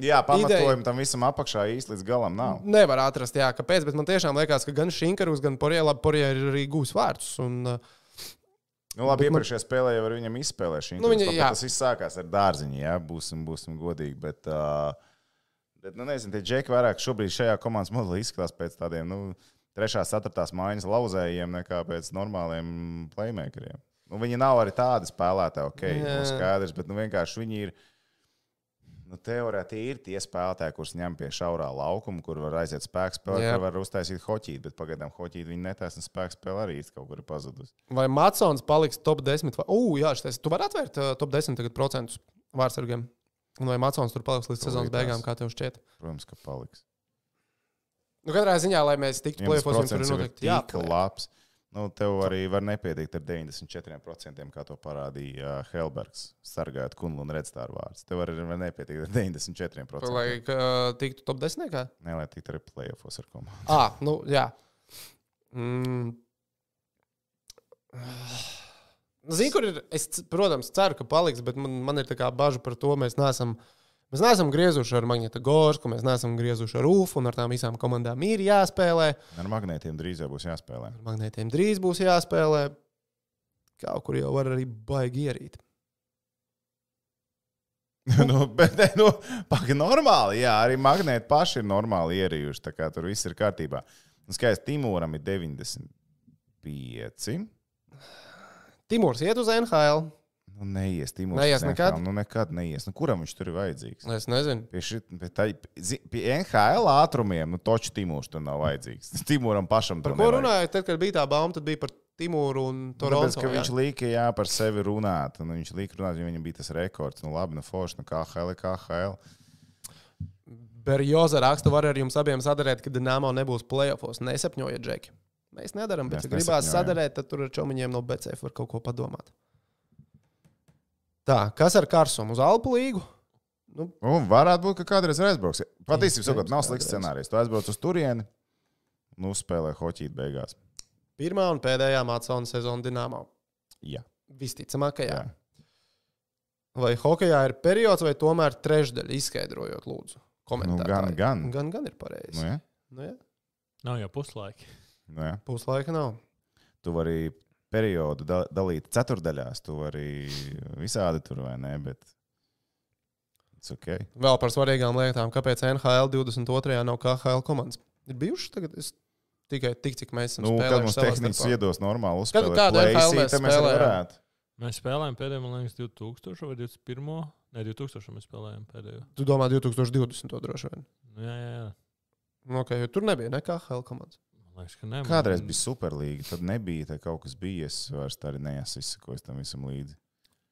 Speaker 2: Jā, pamatojumi tam visam apakšā īsti līdz galam nav.
Speaker 1: nevar atrast, jā, kāpēc, bet man tiešām liekas, ka gan Šinkaruks, gan Porjēlā Porjē ir arī gūs vārdus. Un, uh,
Speaker 2: Nu, labi,
Speaker 1: Bet man-
Speaker 2: iepriekšējā spēlē jau ar viņam izspēlēja šī
Speaker 1: Nu, viņa-
Speaker 2: tāpēc
Speaker 1: jā.
Speaker 2: Tas viss sākās ar dārziņu, jā, būsim, būsim godīgi. Bet, uh, bet nu, nezinu, tie džeki vairāk šobrīd šajā komandas modelī izskatās pēc tādiem nu, trešās, ceturtās mājas lauzējiem nekā pēc normāliem playmakeriem. Nu, viņi nav arī tādi spēlētāji, ok,
Speaker 1: Jā.
Speaker 2: nu, skaidrs, bet nu, vienkārši viņi ir. Nu, Teorētiski ir tie spēlētāji, kurus ņem pie šaurā laukuma, kur var aiziet spēku spēlēt,
Speaker 1: Jā.
Speaker 2: kur var uztaisīt hoķīt, bet pagaidām hoķīt viņa netaisna spēku spēle arī īsti kaut kur ir pazudusi.
Speaker 1: vai Matsons paliks top 10? Vai, uh, jā, šitais, tu vari atvērt uh, top 10 tagad procentus vārdsargiem. Un vai Matsons tur paliks līdz sezonas
Speaker 2: Tūlīt
Speaker 1: beigām,
Speaker 2: tās.
Speaker 1: kā tev šķiet?
Speaker 2: Protams, ka paliks.
Speaker 1: Nu, katrā ziņā, lai mēs tiktu plēsofos, viņam tur ir
Speaker 2: jau ir
Speaker 1: noteikti
Speaker 2: tik
Speaker 1: jāplay.
Speaker 2: labs. Nu, tev arī var nepietikt ar 94%, kā to parādīja uh, Helbergs, sargājot kungu un redzstāru vārdus. Tev arī var nepietikt ar 94%.
Speaker 1: Lai
Speaker 2: Lai...
Speaker 1: uh, tiktu top 10? Kā?
Speaker 2: Nē, lai tiktu arī playoffs ar komandu.
Speaker 1: Ah, nu, jā. Mm. Zinu, kur ir. Es, c- protams, ceru, ka paliks, bet man, man ir tā kā bažu par to. Mēs neesam, mēs neesam griezuši ar Magnētu Gorsku, mēs neesam griezuši ar Rūfu, un ar tām visām komandām ir jāspēlē.
Speaker 2: Ar magnētiem drīz jau būs jāspēlē.
Speaker 1: Ar Magnētiem drīz būs jāspēlē. Kaut kur jau var arī baigi ierīt.
Speaker 2: nu, bet, nē, nu, pagaidi, normāli. Jā, arī magnēti Nu, paši ir normāli ierījuši. Tā kā tur viss ir kārtībā. Un skaidrs, Timūram ir 90. pieci.
Speaker 1: Timurs iet uz NHL.
Speaker 2: Nu, neies, Timūrs.
Speaker 1: Neies nekad?
Speaker 2: Nu, nekad neies. Nu, kuram viņš tur ir vajadzīgs?
Speaker 1: Es nezinu.
Speaker 2: Pie, šit, pie, tā, zi- pie NHL ātrumiem, nu, toču Timūrs tur nav vajadzīgs. Timūram pašam tur Nu,
Speaker 1: Par ko runājāt? Tad, kad bija tā bauma, tad bija par Timūru un Toronto.
Speaker 2: Tāpēc, ka
Speaker 1: jā.
Speaker 2: viņš līka, jā, par sevi runāt. Un viņš līka runāt, jo viņam bija tas rekords. Nu, labi, nu, forši, nu, KHL, KHL.
Speaker 1: Berjoza raksta, var ar jums abiem sadarīt, ka Dienāmo nebūs playoffs. Nesapņojiet, Džeki. Mēs nedarām, bet,
Speaker 2: Mēs
Speaker 1: ja gribās
Speaker 2: nesapņojam.
Speaker 1: sadarīt, tad tur ar čomiņiem no BCF var kaut ko padomāt. Tā, kas ar Karsumu uz Alpu līgu?
Speaker 2: Un Nu, varētu būt, ka kādreiz ir aizbrauks. Patiesībā,
Speaker 1: Iespējams,
Speaker 2: sakot, nav slikts
Speaker 1: kādreiz.
Speaker 2: scenārijs. Tu aizbrauc uz turieni, nu, spēlē hoķīt beigās.
Speaker 1: Pirmā un pēdējā mācāna sezona Dienāmo.
Speaker 2: Jā.
Speaker 1: Visticamāk, ka jā.
Speaker 2: Jā.
Speaker 1: Vai hokeja ir periods, vai tomēr trešdaļa? Izskaidrojiet, lūdzu.
Speaker 2: Nu,
Speaker 1: Komentāri.
Speaker 2: gan, gan.
Speaker 1: gan. gan ir pareizi.
Speaker 2: Nu, jā.
Speaker 1: Nu, jā.
Speaker 3: Nav jau puslaika.
Speaker 2: Nu, jā.
Speaker 1: Puslaika nav.
Speaker 2: Tu vari periodu da- dalīt ceturdaļās, tu vari visādi tur vai nē, bet it's ok.
Speaker 1: Vēl par svarīgām lietām, kāpēc NHL 22. nav KHL komandas. Ir bijušas tagad es tikai tik, cik mēs esam
Speaker 2: Nu, kad mums
Speaker 1: spēlējuši. savā
Speaker 2: tehnicis
Speaker 1: starpā.
Speaker 2: iedos normālu
Speaker 1: Kad-
Speaker 2: uzspēli,
Speaker 1: kādu NHL mēs
Speaker 2: tad mēs arī
Speaker 1: spēlējām?
Speaker 2: varētu.
Speaker 3: Mēs spēlējām pēdējo, man liekas, 2000 vai 2001. Nē, 2000 mēs spēlējām pēdējo.
Speaker 1: Tu domā 2020. droši vien.
Speaker 3: Nu, jā, jā, jā.
Speaker 1: Nu, okay, jo tur nebija ne KHL komandas.
Speaker 3: Man liekas, ka
Speaker 1: Mm.
Speaker 3: nē. man-
Speaker 2: Kādreiz bija superlīga, tad nebija tā kaut kas bija. Es vairs tā arī nesakoju tam visam līdzi.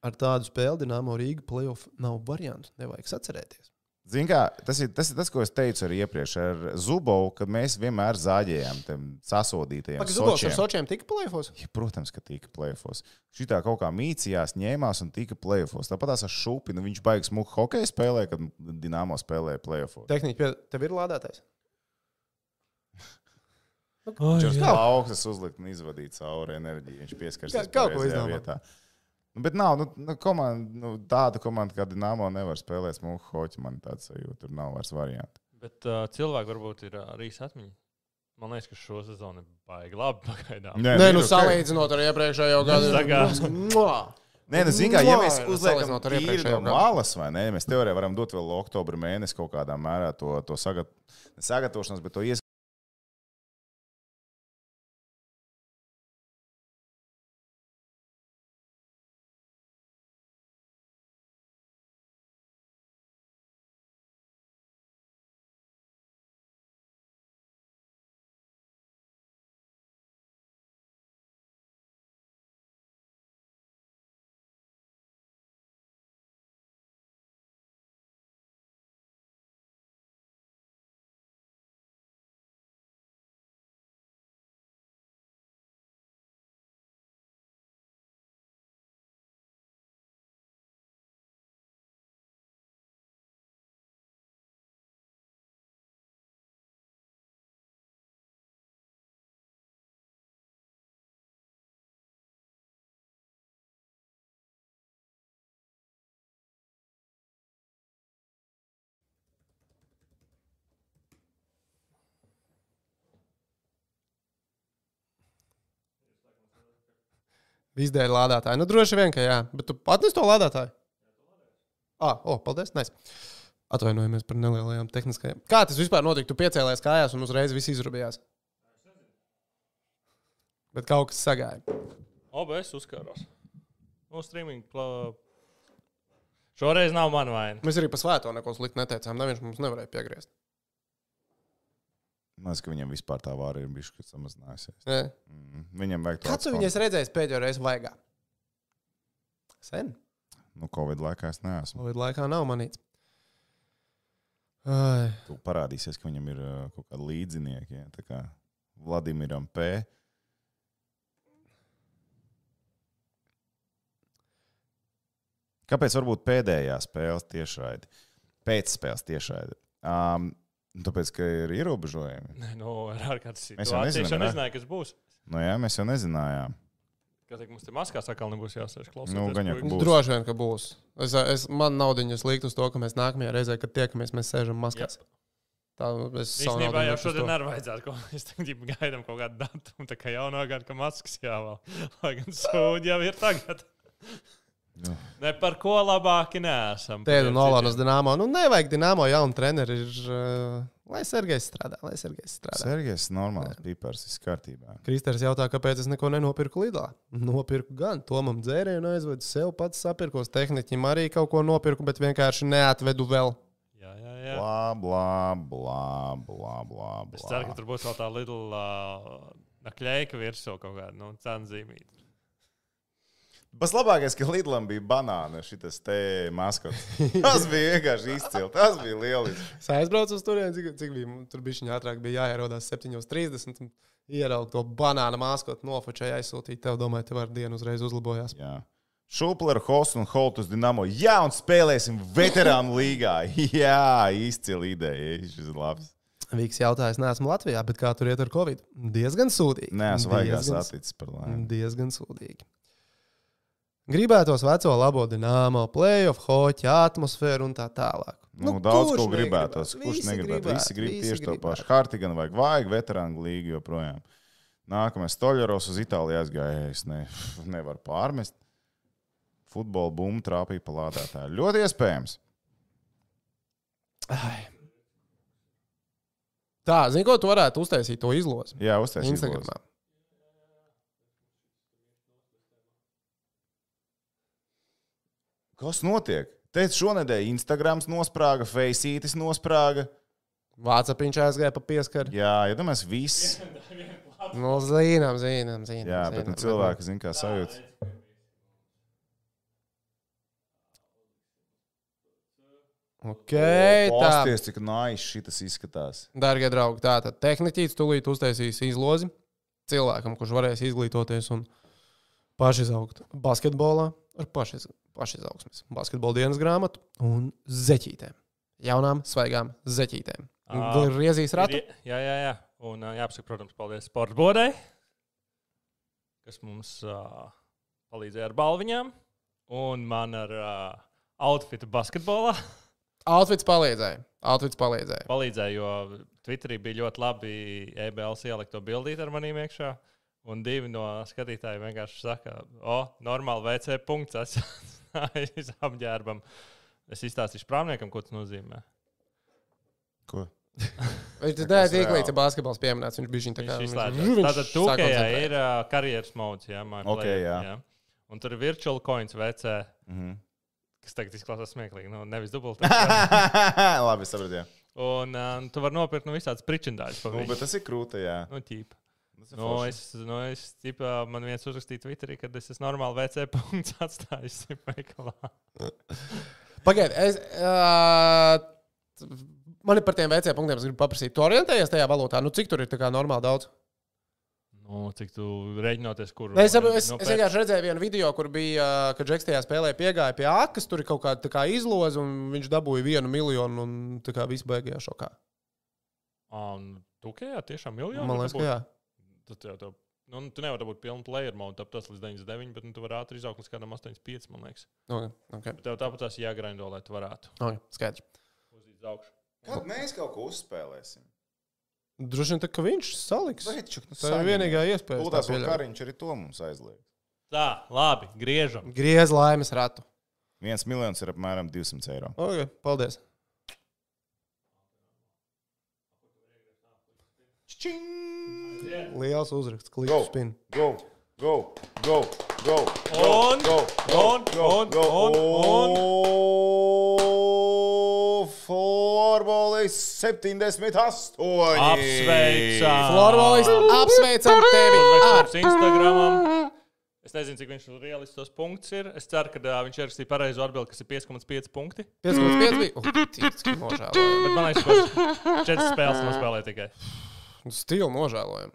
Speaker 1: Ar tādu spēli Dienāmo Rīga playoff nav variantu. Nevajag sacerēties.
Speaker 2: Zini, kā tas ir, tas ir tas, ko es teicu arī iepriekš ar Zubovu, ka mēs vienmēr zāģējām tam sasodītajiem.
Speaker 1: Pagaidzi, Zubovs ar
Speaker 2: sočiem.
Speaker 1: Sočiem tika playoffs.
Speaker 2: Ja, protams, ka tika plēfos. Šitā kaut kā mīcījās, ņēmās un tika plēfos. Tāpat tās ar šūpinu viņš baigs muku hokeju spēlē, kad Dienāmo spēlēja plēfos.
Speaker 1: Tehniski, pie- tev ir lādētais.
Speaker 3: Ai,
Speaker 2: Viņš
Speaker 3: jā.
Speaker 2: jau augstas uzlikt un izvadīt cauri enerģiju. Viņš
Speaker 1: Kā-
Speaker 2: pieskarsies
Speaker 1: kaut ko
Speaker 2: pareizajā
Speaker 1: izdomā.
Speaker 2: vietā. Nu, bet nav nu, nu, komanda, nu, tāda komanda, kā Dienāmo, nevar spēlēt smuku hoķi. Man tāds sajūta, tur nav vairs variantu.
Speaker 3: Bet uh, cilvēki varbūt ir uh, arī atmiņā. Man liekas, ka šo sezonu ir baigi labi pagaidām.
Speaker 1: Nē, Nē nu, salīdzinot ar iepriekšējo gadu.
Speaker 3: Tagad.
Speaker 1: Mua!
Speaker 2: Nē, nu, zini, kā, ja
Speaker 1: Nē,
Speaker 2: mēs
Speaker 1: nu,
Speaker 2: uzliekam
Speaker 1: salīdzinot ar
Speaker 2: tīri
Speaker 1: iepriekšējo
Speaker 2: no
Speaker 1: gadu.
Speaker 2: malas, vai ne? Mēs teorijā varam dot vēl oktobra mēnesi kaut kādā mērā to, to sagat, ne sagatavošanos, bet to ies.
Speaker 1: Izdēļ lādētāju. Nu, droši vien, ka jā. Bet tu atnes to lādētāju? Jā, ah, oh, paldies. Nice. Atvainojamies par nelielajām tehniskajām. Kā tas vispār notika? Tu piecēlējies kājās un uzreiz viss izrūpējās. Bet kaut kas sagāja.
Speaker 3: OBS uzkārās. No streaming. Plā... Šoreiz nav mana vaina.
Speaker 1: Mēs arī par svēto neko sliktu neteicām. Neviens mums nevarēja piegriezt.
Speaker 2: Man liekas, ka viņam vispār tā vāra ir bijusi samazinājusies.
Speaker 1: Nē.
Speaker 2: Mm, Viņam vajag to
Speaker 1: Kad tu viņus redzēji pēdējo reizi vaigā? Sen.
Speaker 2: Nu, Covid laikā es neesmu.
Speaker 1: Covid laikā nav manīts. Ai.
Speaker 2: Tu parādīsies, ka viņam ir uh, kaut kādi līdzinieki. Ja? Tā kā Vladimiram P. Kāpēc varbūt pēdējā spēles tiešraidi? Pēc spēles tiešraidi. Um, tāpēc, ka ir ierobežojumi.
Speaker 3: Nē, no ārkārtas
Speaker 2: Mēs jau
Speaker 3: situācijas. Es jau
Speaker 2: nezinām, ne?
Speaker 3: nezināju, kas būs.
Speaker 2: Nu, jā, mēs jau nezinājām.
Speaker 3: Kas tiek mums te maskās, atkal nebūs jāsēž klausīties.
Speaker 2: Nu, gan jau, ka
Speaker 3: puikas.
Speaker 2: Būs.
Speaker 1: Droši vien, ka būs. Es, es, man naudiņas likt uz to, ka mēs nākamajā reizē, kad tiekamies, mēs sēžam maskās.
Speaker 3: Jep.
Speaker 1: Tā es savu naudiņu
Speaker 3: Īstenībā
Speaker 1: liktu
Speaker 3: jau
Speaker 1: uz to.
Speaker 3: šodien arī vajadzētu kaut ko. Mēs tagad gaidām kaut kādu datumu, tā kā jaunā gada, ka maskas jāvēl. Lai gan sūdi jau ir tagad.
Speaker 2: Nu.
Speaker 3: Ne par ko labāki neesam.
Speaker 1: Tēdu Nolanas Dienāmo. Nu, nevajag Dienāmo jaunu treneri. Ir uh, Lai Sergejs strādā, lai Sergejs strādā.
Speaker 2: Sergejs, normāls pipars, viss kārtībā.
Speaker 1: Kristers jautā, kāpēc es neko nenopirku Lidlā. Nopirku gan, Tomam dzērienu aizvedu sev, pats sapirkos tehniķim arī kaut ko nopirku, bet vienkārši neatvedu vēl.
Speaker 3: Jā, jā, jā.
Speaker 2: Blā, blā, blā, blā, blā.
Speaker 3: Es ceru, ka
Speaker 2: blā.
Speaker 3: tur būs vēl tā liela uh, nakļēka virsū kaut kāda nu, cenzīmīta.
Speaker 2: Pats labākais, ka Lidlam bija banāna šis te maskots. Tas bija vienkārši izcils. Tas bija lieliski.
Speaker 1: Es aizbraucu uz turieni, cik, cik bija. man Tur bija viņa ātrāk, bija jāierodās 7.30 un ieraugt to banānu māskot, nofočēju aizsūtīt. Tev, domāju, tev ar dienu uzreiz uzlabojās.
Speaker 2: Jā. Šuplera, Hosts un Holtus Dienamo. Jā, un spēlēsim veterānu līgā. Jā, izcila ideja. Jā, Šis ir labs.
Speaker 1: Vīks jautāja, es neesmu Latvijā, bet kā tur iet ar Covid? Diezgan sūdīgi.
Speaker 2: Nē, es vaigās
Speaker 1: Diezgan Mm.
Speaker 2: atlicis par laimi.
Speaker 1: Diezgan sūdīgi. Gribētos veco labo dīnāmo, playoff, hoķa atmosfēru un tā tālāk.
Speaker 2: Nu, nu, daudz
Speaker 1: kurš
Speaker 2: ko
Speaker 1: negribētu?
Speaker 2: gribētos, kurš
Speaker 1: Visi
Speaker 2: negribētu. Visi grib
Speaker 1: visi
Speaker 2: tieši to
Speaker 1: gribētu.
Speaker 2: pašu. Hartigan vajag, vajag veterānu līgu joprojām. Nākamais Toļeros uz Itāliju aizgāja. Es ne, nevaru pārmest. Futbola bumba trāpīja pa lādētāju. Ļoti iespējams.
Speaker 1: Ai. Tā, zini, ko tu varētu uztaisīt to izlozi
Speaker 2: Jā, uztaisīt.
Speaker 1: Instagramā.
Speaker 2: Kas notiek? Teicu, šonadēļ Instagrams nosprāga, Faceītis nosprāga.
Speaker 1: Vācijā viņš aizgāja pa pieskaru.
Speaker 2: Jā, iedomājieties, ja viss.
Speaker 1: Nu, zinām, zinām, zinām.
Speaker 2: Jā,
Speaker 1: zinām,
Speaker 2: bet nu, cilvēki zina, kā sajūta.
Speaker 1: Ok, tā.
Speaker 2: Pasties, cik nājas šis izskatās.
Speaker 1: Darbie draugi, tā tad tehniķis tūlīt uztaisīs izlozi cilvēkam, kurš varēs izglītoties un pašizaugt basketbolā ar pašiz, pašizaugsmes, basketbola dienas grāmatu un zeķītēm. Jaunām, svaigām zeķītēm.
Speaker 3: Ā.
Speaker 1: Vai riezīs ratu?
Speaker 3: Jā, jā, jā. Un uh, jāpasaka, protams, paldies Sports Bodai, kas mums uh, palīdzēja ar balviņām. Un man ar uh, outfitu basketbolā
Speaker 1: Outfits palīdzēja. Outfits palīdzēja.
Speaker 3: palīdzēja, jo Twitterī bija ļoti labi EBLs ielikt to bildīt ar maniem iekšā. Un divi no skatītājiem vienkārši saka, o, normāli VC punkts esmu apģērbam. Es izstāstīšu prāmniekam, ko tas nozīmē.
Speaker 2: Ko?
Speaker 1: Viņš
Speaker 2: Tā
Speaker 1: tā
Speaker 2: kas
Speaker 1: ir
Speaker 2: reāli.
Speaker 1: iekļauts basketbols pieminēts. Viņš bija viņa tā kā
Speaker 3: Viņš
Speaker 1: viņš
Speaker 3: izslēdzās. Tātad tūkajā
Speaker 1: sakoncentrējās.
Speaker 3: ir uh, karjeras mods, jā, my
Speaker 2: Ok,
Speaker 3: player,
Speaker 2: jā.
Speaker 3: Un tur ir virtual coins VC,
Speaker 2: Mhm.
Speaker 3: kas tagad izklausās smieklīgi, nu nevis dubult.
Speaker 2: Labi, sapratu. jā.
Speaker 3: un uh, tu vari nopirkt nu, visādas pričindāļas.
Speaker 2: Nu, bet tas ir krūti, jā.
Speaker 3: Nu, ķīpa.
Speaker 2: Tas ir
Speaker 3: Nu,
Speaker 2: forši.
Speaker 3: es, nu, es, tipā, man viens uzrakstīja Twitterī, ka es esmu normāli VC punkts atstājis veikalā.
Speaker 1: Pagaidiet, es. Uh, man ir par tiem veciem punktiem, es gribu paprasīt. Tu orientējies tajā valūtā? Nu, cik tur ir tā kā normāli daudz?
Speaker 3: Nu, cik tu rēķinoties, kur.
Speaker 1: Es, saprotu,
Speaker 3: Nu,
Speaker 1: es, es vienkārši redzēju vienu video, kur bija, ā, kad Džeks tajā spēlē piegāja pie akas, tur ir kaut kāda tā kā izloze, un viņš dabūja vienu miljonu, un tā kā viss beigās šokā.
Speaker 3: Tu kā tiešām miljonu?
Speaker 1: Man liekas, ka jā.
Speaker 3: Tad jau tev, nu, tu nevari būt pilnu player mode, tāpēc tas līdz 99, bet nu, tu vari ātri izaugt līdz kādam 85, man liekas.
Speaker 1: Okay, okay,
Speaker 3: Bet tev tāpat tās jāgraindo, lai tu varētu
Speaker 1: okay, skaidrs.
Speaker 3: uzlīdz augšu.
Speaker 2: Kad mēs kaut ko uzspēlēsim?
Speaker 1: Droši vien tā, ka viņš saliks.
Speaker 2: Zaičuk, nu,
Speaker 1: Tā ir vienīgā iespēja. es tā
Speaker 2: Lūdās, ka
Speaker 1: pieļauju.
Speaker 2: Kariņš arī to mums aizliek.
Speaker 3: Tā, labi, griežam.
Speaker 1: Griez laimes ratu.
Speaker 2: Viens miljons ir apmēram 200 eiro.
Speaker 1: Okay, paldies. Liels uzraksts,
Speaker 2: Go.
Speaker 1: klips spin.
Speaker 2: Go, go, go, go, go,
Speaker 3: Un,
Speaker 2: go, go,
Speaker 3: un,
Speaker 2: go,
Speaker 3: un,
Speaker 2: go.
Speaker 3: un, un.
Speaker 2: O, Florbolis 78.
Speaker 3: Apsveicam!
Speaker 1: Florbolis, apsveicam tevi!
Speaker 3: Ar Instagram. Es nezinu, cik viņš ir reāls tos punkts. Ir. Es ceru, ka uh, viņš ierakstīja pareizo atbildi, kas ir 5,5 punkti.
Speaker 1: 5,5 bija. Uh, tic, cik nožēlojami.
Speaker 3: Bet man liekas, ka 4 spēles nospēlēja tikai.
Speaker 1: Stilu nožēlojam.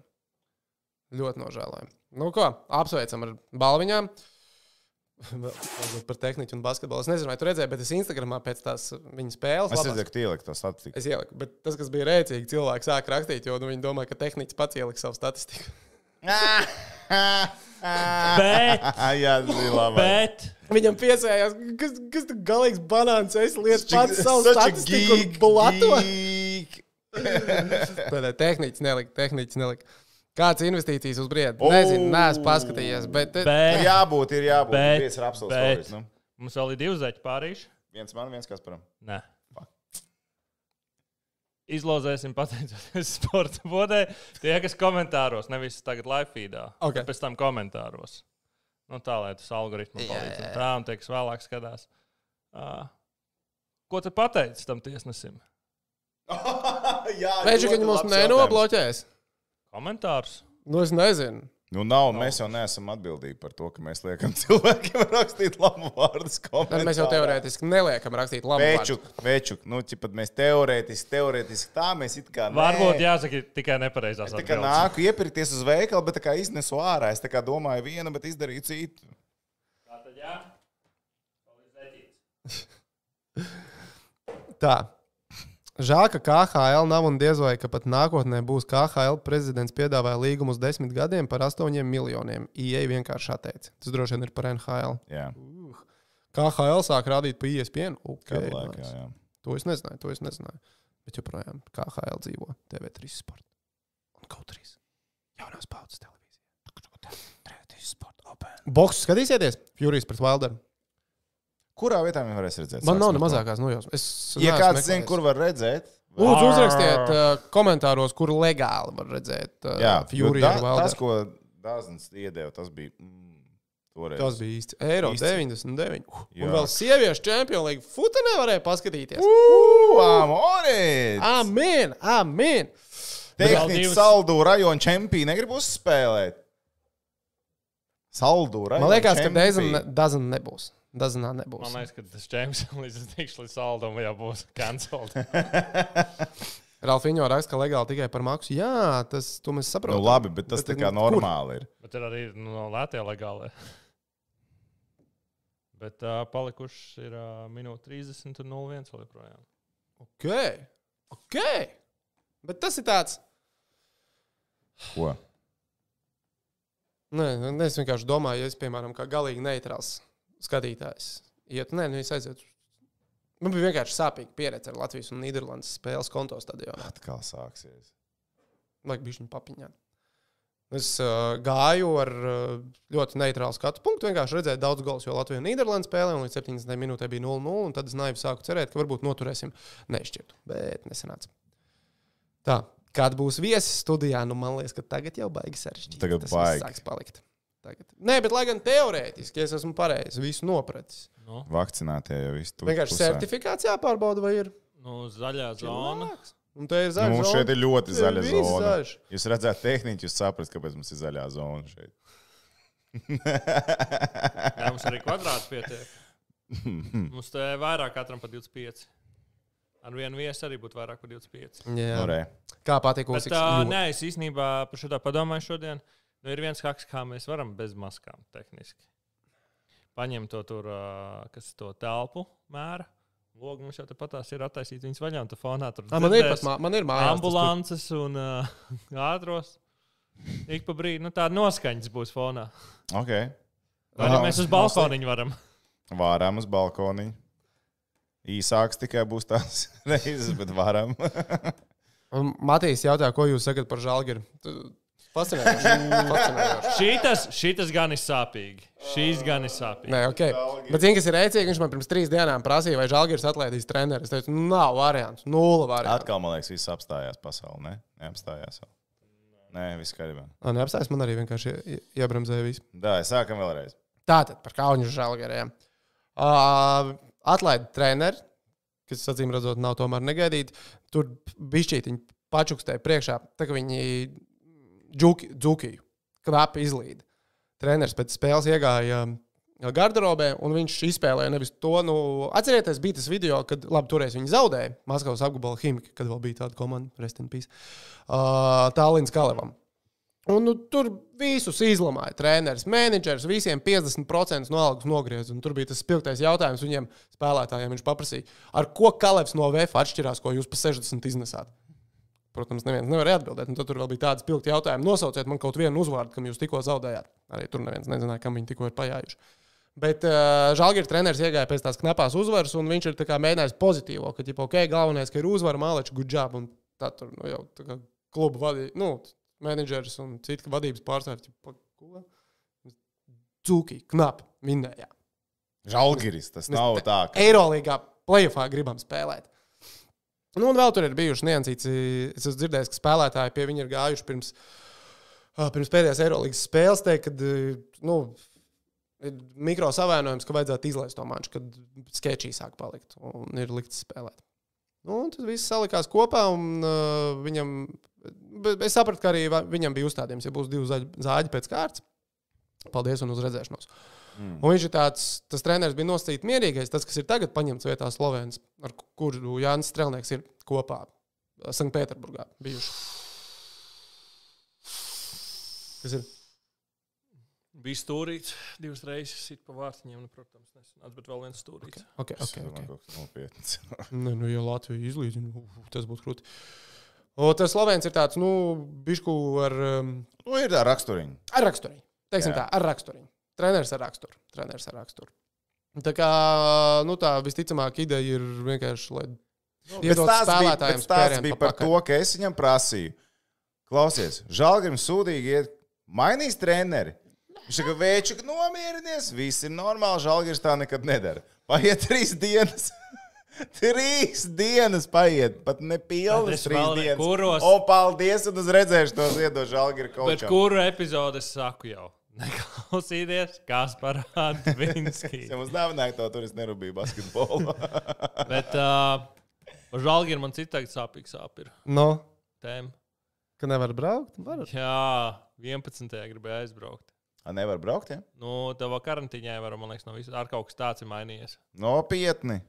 Speaker 1: Ļoti nožēlojam. Nu ko, apsveicam ar balviņām. Vēl Varbūt par tehniku un basketbolu. Es nezinu, vai tu redzēji, bet es Instagramā pēc tās viņa spēles.
Speaker 2: Es
Speaker 1: labās-
Speaker 2: redzēju, ka ielikt to statistiku.
Speaker 1: Es ieliku, bet tas, kas bija rēcīgi, cilvēks sāk rakstīt, jo nu, viņi domā, ka tehnicis pats ieliks savu statistiku.
Speaker 3: Bet,
Speaker 2: Jā, zinu, labi.
Speaker 3: bet,
Speaker 1: Viņam piesējās, kas, kas tu galīgs banāns, es lietu pats savu
Speaker 2: Such a
Speaker 1: statistiku un
Speaker 2: geek,
Speaker 1: blato.
Speaker 2: geek.
Speaker 1: Tādā tehnicis nelika, tehnicis nelika. Kāds investīcijas uz
Speaker 2: Oh.
Speaker 1: briedu? Nezinu, neesmu paskatījies, bet,
Speaker 3: bet.
Speaker 2: Ir Nu, jābūt, ir jābūt.
Speaker 3: Bet,
Speaker 2: Viens ir
Speaker 3: bet.
Speaker 2: absolūts. Nu,
Speaker 3: Mums vēl ir divi zaķi pārīši.
Speaker 2: viens man, viens kas param.
Speaker 3: Nē. Izlozēsim, pateicoties sporta bodē, tie, kas komentāros, nevis tagad live feedā,
Speaker 1: Ok.
Speaker 3: bet pēc tam komentāros. Nu, tā lai tas algoritmu
Speaker 1: Jā, jā,
Speaker 3: palīdz. un
Speaker 1: jā.
Speaker 3: Tā, un tie, kas vēlāk skatās. Uh, ko tu pateici tam tiesnesim?
Speaker 2: Jā,
Speaker 1: Mēģi, ka viņi
Speaker 2: ļoti
Speaker 1: mums
Speaker 2: labs jautājums.
Speaker 1: nenobloķēs.
Speaker 3: Komentārus.
Speaker 1: Nu, es nezinu.
Speaker 2: Nu, nav, nav. Mēs jau neesam atbildīgi par to, ka mēs liekam cilvēkiem rakstīt labu vārdu.
Speaker 1: Tad mēs jau teorētiski neliekam rakstīt labu
Speaker 2: Vēču,
Speaker 1: vārdu.
Speaker 2: vēču, nu, pat mēs teorētiski, teorētiski tā mēs it kā. nē.
Speaker 3: Varbūt jāsaka tikai nepareizās
Speaker 2: Es tā kā
Speaker 3: atbildēs.
Speaker 2: nāku iepirkties uz veikalu, bet tā kā iznesu ārā. Es tā kā domāju vienu, bet izdarīju citu.
Speaker 3: Tātad, jā.
Speaker 1: Tā. Žēl, ka KHL nav un diez vai ka pat nākotnē būs KHL prezidents piedāvāja līgumu uz desmit gadiem par astoņiem miljoniem. IE vienkārši atteica. Tas droši vien ir par NHL.
Speaker 2: Jā,
Speaker 1: KHL sāk rādīt pa E ISPN. Okay,
Speaker 2: kādu laiku. jā, jā.
Speaker 1: To es nezināju, to es nezināju. Bet joprojām KHL dzīvo TV3 sporta un GO3. Jaunās paudzes televīzija. TV3 sporta open. Boksu skatīsieties? Furijas pret Wilderu.
Speaker 2: Kurā vietā viņi varēs redzēt?
Speaker 1: Man nav ne
Speaker 2: Sāksim ar to.
Speaker 1: mazākās nojausmas. Es
Speaker 2: Ja
Speaker 1: neesmu
Speaker 2: kāds zina,
Speaker 1: meklējis.
Speaker 2: kur var redzēt,
Speaker 1: Lūdzu, uzrakstiet uh, komentāros, kur legāli var redzēt uh,
Speaker 2: Jā,
Speaker 1: Furiju
Speaker 2: jo
Speaker 1: un
Speaker 2: da- Tas,
Speaker 1: Wilderu.
Speaker 2: ko Dārzs iedeva, tas bija. Mm, toreiz.
Speaker 1: Tas bija īsti. Eiro
Speaker 2: Īsts.
Speaker 1: 99. Uh,
Speaker 2: Jā.
Speaker 1: un vēl sieviešu čempionu līniju futa nevarēja paskatīties.
Speaker 2: Ū, amore!
Speaker 1: Amen! Amen!
Speaker 2: Tehniski
Speaker 3: Vēl divas-
Speaker 2: saldu rajona čempionu negribu uzspēlēt. Saldu rajona.
Speaker 1: Man liekas, ka
Speaker 2: čempī.
Speaker 1: Dazana nebūs. Dazanā nebūs.
Speaker 3: Man liekas, ka tas Džeims līdz es tikšu līdz saldam, jau būs cancelled.
Speaker 1: Ralfiņo raksta, ka legāli tikai par maksu. Jā, tas to mēs
Speaker 2: Nu,
Speaker 1: saprotam.
Speaker 2: labi, bet tas
Speaker 1: Bet,
Speaker 2: tā kā
Speaker 1: nu, kur?
Speaker 2: normāli ir.
Speaker 3: Bet tur arī ir nu, no Latvijas legāli. Bet uh, palikuši ir uh, minūte 30 un 01 vēl joprojām.
Speaker 1: ok, ok. Bet tas ir tāds.
Speaker 2: Ko?
Speaker 1: Nē, nu, es vienkārši domāju, ja es, piemēram, kā galīgi neitrāls skatītājs, ietu, nē, nu, es aizietu. Man bija vienkārši sāpīga pieredze ar Latvijas un Nīderlandes spēles konto stadionā.
Speaker 2: Atkal sāksies.
Speaker 1: Vajag bišķiņu papiņā. Es uh, gāju ar uh, ļoti neitrālu skatu punktu. Vienkārši redzēju daudz gols, jo Latvija un Nīderlanda spēlēja, un līdz 70 minūtē bija 0-0. un Tad es naivi sāku cerēt, ka varbūt noturēsim nešķirtu. Bet nesanāca. Tā, kad būs viesis studijā, nu man liekas, ka tagad jau baigi sarežģīti.
Speaker 2: Tagad
Speaker 1: Tas
Speaker 2: baigi.
Speaker 1: viss sāks palikt. Tagad. Nē, bet lai gan teorētiski es esmu pareizi visu nopratis.
Speaker 3: Nu,
Speaker 2: Vakcinātie jau visu tur.
Speaker 1: Vienkārši
Speaker 2: pusē.
Speaker 1: certifikāts jāpārbauda, vai ir.
Speaker 3: nu, zaļā zona.
Speaker 1: Un te ir
Speaker 2: Nu,
Speaker 1: zaļa.
Speaker 2: mums
Speaker 1: zona.
Speaker 2: šeit ir
Speaker 1: Te
Speaker 2: ļoti zaļa
Speaker 1: viss
Speaker 2: zona.
Speaker 1: zaļš.
Speaker 2: Jūs redzat, tehniski jūs saprotat, kāpēc mums ir zaļā zona šeit.
Speaker 3: Jā, mums arī kvadrāts pietiek. Mums te vairāk katram pa 25. Ar vienu viesu arī būtu vairāk par 25.
Speaker 1: Jā.
Speaker 2: Norē.
Speaker 1: Kā patīk
Speaker 3: Bet,
Speaker 1: Uziks?
Speaker 3: uh,
Speaker 1: Ļoti.
Speaker 3: nē, es īstenībā par šo tā padomāju šodien. Nu, ir viens haks, kā mēs varam bez maskām tehniski. Paņem to tur, uh, kas to telpu mēra. Logi mums jau tāpatās ir attaisīti viņas vaļā, un tā fonā tur
Speaker 1: Ā, Ah, Man ir
Speaker 3: dzirdēs
Speaker 1: pat mā- man ir mājās. tas tur.
Speaker 3: ambulances un uh, ātros. Ik pa brīdim nu, tāda noskaņas būs fonā.
Speaker 2: Ok.
Speaker 3: Vai
Speaker 2: Aha.
Speaker 3: arī mēs uz balkoniņu varam?
Speaker 2: Vārām uz balkoniņu. Īsāks tikai būs tās reizes, bet varam.
Speaker 1: Un Matīs jautā, ko jūs sakat par žālgiru? Fascinējoši.
Speaker 3: Šītas, šītas gan ir sāpīgi. Šīs gan ir sāpīgi.
Speaker 1: Nē, ok. Bet zini, kas ir rēcīgi? Viņš man pirms trīs dienām prasīja, vai žālgirs atlaidīs treneris. Es teicu, nu, nav variants. Nula variants.
Speaker 2: Atkal, man liekas, viss apstājās pasaulē. Ne? Neapstājās vēl. Nē, viss kārībā.
Speaker 1: Nē, apstājas man arī vienkārši ie- iebremzēja visu.
Speaker 2: Tā, sākam vēlreiz.
Speaker 1: Tātad par kauņu žālgariem. Uh, atlaida treneri, kas, acīm redzot, nav tomēr negaidīti. Tur bišķītiņi pačukstēja priekšā, tā kā viņi džuki, džukiju, kvapi izlīd. Treneris pēc spēles iegāja um, garderobē, un viņš izspēlēja nevis to. Nu, atcerieties, bija tas video, kad labi, toreiz viņi zaudēja Maskavas apgabala Himki, kad vēl bija tāda komanda, Restinpīs, uh, Tālins Kalevam. Un, nu, tur visus izlamāja. Treneris, menedžers, visiem 50% no algas nogriezis. Un Tur bija tas spilgtais jautājums viņiem, spēlētājiem. Viņš paprasīja, ar ko Kalevs no VF atšķirās, ko jūs pa 60 iznesāt. Protams, neviens nevarēja atbildēt. Un tad tur vēl bija tāds spilgts jautājums. Nosauciet man kaut vienu uzvārdu, kam jūs tikko zaudējāt. Arī tur neviens nezināja, kam viņi tikko ir pajājuši. Bet uh, Žalgiris treneris iegāja pēc tās knapās uzvaras, un viņš ir tā kā mēģinājis pozitīvo, ka, ja ok, galvenais, ka ir uzvara, mālečs, good job, un tā tur nu, jau tā kā kluba vadīja, nu, menedžers un citi vadības pārstāvji. ķipa, ko? Dzūkī, knapi vinnējām.
Speaker 2: Žalgiris, tas nav tā, ka
Speaker 1: Eirolandā playoffā gribam spēlēt. Nu, un vēl tur ir bijuši niansīts. Es esmu dzirdējis, ka spēlētāji pie viņa ir gājuši pirms, ah, pirms pēdējās Eirolandes spēles. Teikt, kad eh, nu, ir mikro savainojums, ka vajadzētu izlaist to manšu, kad sketčī sāk palikt un ir likts spēlēt. Nu, un tas viss salikās kopā, un uh, viņam, bet es sapratu, ka arī va- viņam bija uzstādījums, ja būs divi zaļi- zāģi pēc kārtas. Paldies un uz redzēšanos. Mm. Un viņš ir tāds, tas treneris bija nosacīts mierīgais, tas, kas ir tagad paņemts vietā Slovēns, ar ku- kuru Jānis Strelnieks ir kopā eh, Sanktpēterburgā bijuši. Kas ir?
Speaker 3: Bija stūrīts divas reizes, sit pa vārtiņiem, nu, protams, nesanāca, bet vēl viens stūrīts. Okay.
Speaker 1: Okay, okay, okay.
Speaker 2: nopietni.
Speaker 1: Nē, nu, ja Latvija izlīdzina, u, tas būtu grūti. O, tas Slovēns ir tāds, nu, bišku ar, um,
Speaker 2: Nu, ir tā raksturiņa.
Speaker 1: ar raksturiņu. Teiksim
Speaker 2: Jā.
Speaker 1: tā, ar raksturiņu. Treneris ar raksturu. Treneris ar raksturu. Tā kā nu, tā visticamāk ideja ir vienkārši, lai.
Speaker 2: Nu, Bet
Speaker 1: iedod
Speaker 2: stāsts bija,
Speaker 1: spēlētājiem
Speaker 2: bet stāsts
Speaker 1: spērienu
Speaker 2: bija
Speaker 1: pa
Speaker 2: par
Speaker 1: pakaļ.
Speaker 2: to, ka es viņam prasīju, klausies, žēlgrim sūdīgi iet, mainīs treneri. Viņš saka, vēču, nomierinies, viss ir normāli, žēlgrims tā nekad nedara. Paiet trīs dienas. Trīs dienas paiet, pat
Speaker 3: Tad
Speaker 2: nepilnas
Speaker 3: es
Speaker 2: trīs
Speaker 3: vēl ne-
Speaker 2: dienas.
Speaker 3: kuros-
Speaker 2: O, paldies, un uz redzēšanos iedošu žēlgrimu
Speaker 3: Bet
Speaker 2: kaut ko.
Speaker 3: kuru epizodi es saku jau? Neklausīties, kas parāda Vinskiju.
Speaker 2: Ja mums dāvināja to, tur es nerūpīju basketbolu.
Speaker 3: Bet uh, žēlgi ir man citādi sāpīgi sāpīgi.
Speaker 1: No,
Speaker 3: Tēma.
Speaker 1: ka nevar braukt? Var.
Speaker 3: Jā, 11. gribēju aizbraukt.
Speaker 2: A, Nevar braukt, ja?
Speaker 3: Nu, tavā karantīnā jau, man liekas, no visas ar kaut kas tāds ir mainījies.
Speaker 2: Nopietni.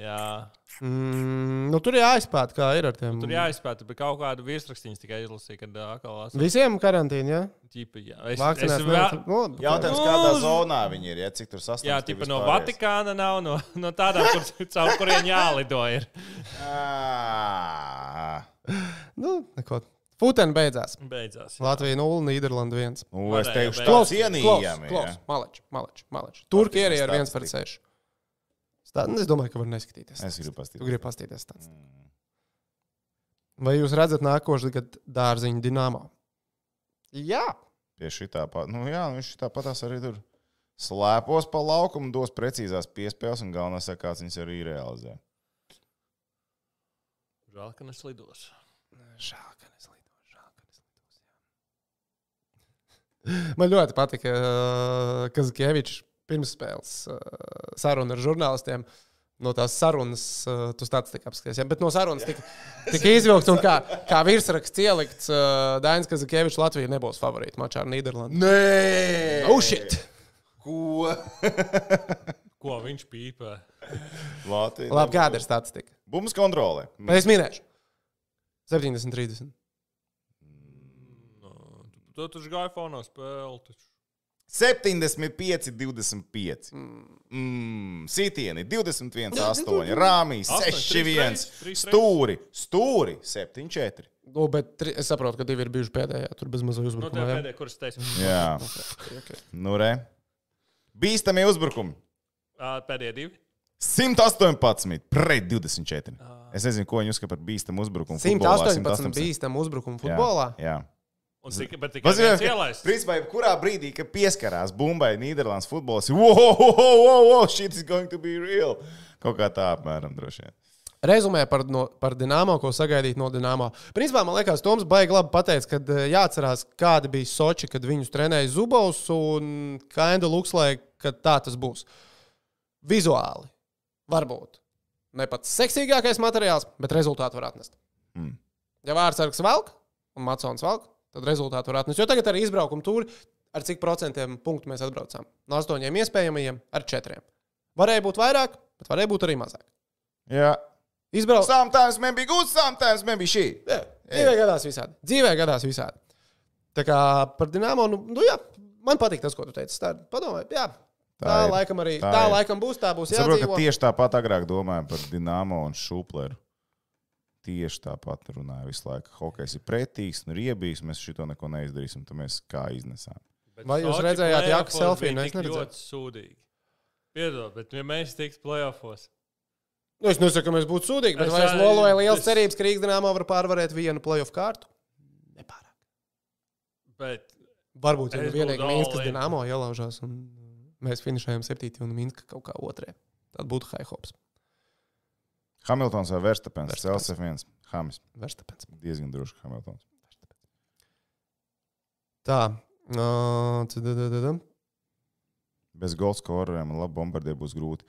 Speaker 3: Jā,
Speaker 1: Mm, nu, tur jāizpēta, kā ir ar tiem.
Speaker 3: tur jāizpēta, bet kaut kādu virsrakstu tikai izlasīju, kad atkal esmu
Speaker 1: Visiem karantīnā, ja?
Speaker 3: ģipi. Jā, es, es,
Speaker 1: Vakcinēs.
Speaker 3: vēl,
Speaker 1: nevar- nu,
Speaker 2: Jautājums,
Speaker 3: Nu,
Speaker 2: kādā
Speaker 3: uz-
Speaker 2: zonā viņi ir, ja? cik tur sastāv.
Speaker 3: jā tipa no Vatikāna nav, no, no tādām, kur, caur kuriem jālido. Ir.
Speaker 2: Ā,
Speaker 1: Nu, neko. Futēn beidzās.
Speaker 3: Beidzās. jā.
Speaker 1: Latvija 0, Nīderlanda 1.
Speaker 2: Nu,
Speaker 3: Varēja,
Speaker 2: es teikšu,
Speaker 3: bet-
Speaker 2: tā
Speaker 3: Klaus,
Speaker 2: cienījami.
Speaker 1: Klaus,
Speaker 2: ja.
Speaker 1: maleči, maleči, maleči. Turki ir ar
Speaker 2: statistika.
Speaker 1: 1,6. Stā- nu, Es domāju, ka var neskatīties.
Speaker 2: Es gribu
Speaker 1: Tu
Speaker 2: pastīties.
Speaker 1: gribi paskatīties tāds.
Speaker 3: Mm.
Speaker 1: Vai jūs redzat nākošais gadu dārziņu dīnāmā? Jā,
Speaker 2: Pie šitā, pa... nu jā, nu viņš tāpatās arī tur slēpos pa laukumu, dos precīzās piespēles un galvenais, kāds viņas arī realizē.
Speaker 3: Žēl, ka neslidos.
Speaker 1: žēl, ka neslidos. Žēl, ka neslidos. jā. Man ļoti patika uh, Kazakievičs pirms spēles uh, saruna ar žurnālistiem. No tās sarunas, uh, tu tāds tik apskaties, ja? bet no sarunas tika, tika izvilkts un kā, kā virsraksts ielikts, uh, Dainis Kazakievičs Latvija nebūs favorīta mačā ar Nīderlandi.
Speaker 2: Nē,
Speaker 1: Oh, shit!
Speaker 2: Ko?
Speaker 3: Ko viņš pīpē?
Speaker 2: Latvija.
Speaker 1: Labi, kāda ir statistika?
Speaker 2: Bums kontrole.
Speaker 1: Bet es minēšu. 70, 30.
Speaker 3: No, tu, tu taču gāji fonā spēlēt. taču.
Speaker 2: 75, 25. Mm, sitieni 21, 8, rāmī
Speaker 3: Astoņi,
Speaker 2: 6,
Speaker 3: trīs
Speaker 2: 1,
Speaker 3: reizes, trīs
Speaker 2: stūri, stūri 7, 4.
Speaker 1: Nu, bet tri, es saprotu, ka divi ir bijuši pēdējā, tur bez mazā
Speaker 3: Nu,
Speaker 1: uzbrukuma.
Speaker 3: tev
Speaker 1: jā?
Speaker 3: pēdējā, kuras teicu,
Speaker 2: Jā,
Speaker 1: Okay.
Speaker 2: nu re. Bīstamie uzbrukumi.
Speaker 3: Ā, pēdējie divi.
Speaker 2: 118 pret 24.
Speaker 3: Ah.
Speaker 2: Es nezinu, ko viņi uzskata par bīstamu uzbrukumu. futbolā,
Speaker 1: 118 bīstamu uzbrukumu futbolā.
Speaker 2: Jā. jā.
Speaker 3: Un cik, bet tikai
Speaker 2: Pazīmē,
Speaker 3: viens
Speaker 2: ka,
Speaker 3: ielaist.
Speaker 2: principā, kurā brīdī, kad pieskarās bumbai Nīderlandes futbols, wow, shit is going to be real. Kaut kā tā apmēram droši vien.
Speaker 1: Rezumē par, no, par dināmo, ko sagaidīt no dināmo. Principā man liekas, Toms baigi labi pateica, ka jāatcerās, kāda bija Soči, kad viņus trenēja Zubovs un Kainda Lukslē, ka tā tas būs. Vizuāli varbūt ne pats seksīgākais materiāls, bet rezultātu var atnest.
Speaker 2: Mm.
Speaker 1: Ja Vārtsargs velk un Matsons velk, tad rezultātu var atnest. Jo tagad arī izbraukuma tūri, ar cik procentiem punktu mēs atbraucām? No astoņiem iespējamajiem, ar četriem. Varēja būt vairāk, bet varēja būt arī mazāk.
Speaker 2: Jā.
Speaker 1: Izbraukt.
Speaker 2: Sometimes man bija good, sometimes man bija šī.
Speaker 1: Jā, dzīvē gadās visādi. Dzīvē gadās visādi. Tā kā par dīnāmo, nu, nu jā, man patīk tas, ko tu teici. Tā, padomāj, jā, tā, tā
Speaker 2: ir,
Speaker 1: laikam arī,
Speaker 2: tā
Speaker 1: tā, tā
Speaker 2: ir.
Speaker 1: laikam būs, tā būs.
Speaker 2: Es
Speaker 1: Jā,
Speaker 2: saprotu, ka tieši tāpat agrāk domājām par Dienāmo un Šupleru. Tieši tāpat runāja visu laiku. Hokejs ir pretīgs, nu, riebīgs, mēs šito neko neizdarīsim, tad mēs kā iznesām.
Speaker 3: Bet
Speaker 1: Vai jūs
Speaker 3: Soči
Speaker 1: redzējāt
Speaker 3: playoffos
Speaker 1: Jaku selfie?
Speaker 3: bija
Speaker 1: Nu, es
Speaker 3: tik
Speaker 1: neredzēju.
Speaker 3: ļoti sūdīgi. Piedod, bet ja mēs tiktu playoffos,
Speaker 1: Nu, es nesaku, ka mēs būtu sūdīgi, bet
Speaker 3: Es
Speaker 1: es, vai es
Speaker 3: arī-
Speaker 1: loloju liels
Speaker 3: es-
Speaker 1: cerības, ka Rīgas dīnāmo var pārvarēt vienu playoff kārtu? Nepārāk.
Speaker 3: bet
Speaker 1: Varbūt jau
Speaker 3: Es
Speaker 1: vienīgi
Speaker 3: būtu
Speaker 1: Minskas
Speaker 3: all in.
Speaker 1: dīnāmo ielaužās, un mēs finišējam septītī un Minska kaut kā otrē. Tad būtu high hops.
Speaker 2: Hamiltons vai Verstapens?
Speaker 1: Verstapens.
Speaker 2: Celsef viens. Hamis.
Speaker 1: Verstapens.
Speaker 2: Diezgan droši Hamiltons.
Speaker 1: Tā. Uh, tu- tu- tu- tu- tu.
Speaker 2: Bez goldskoreriem un labu bombardieru būs grūti.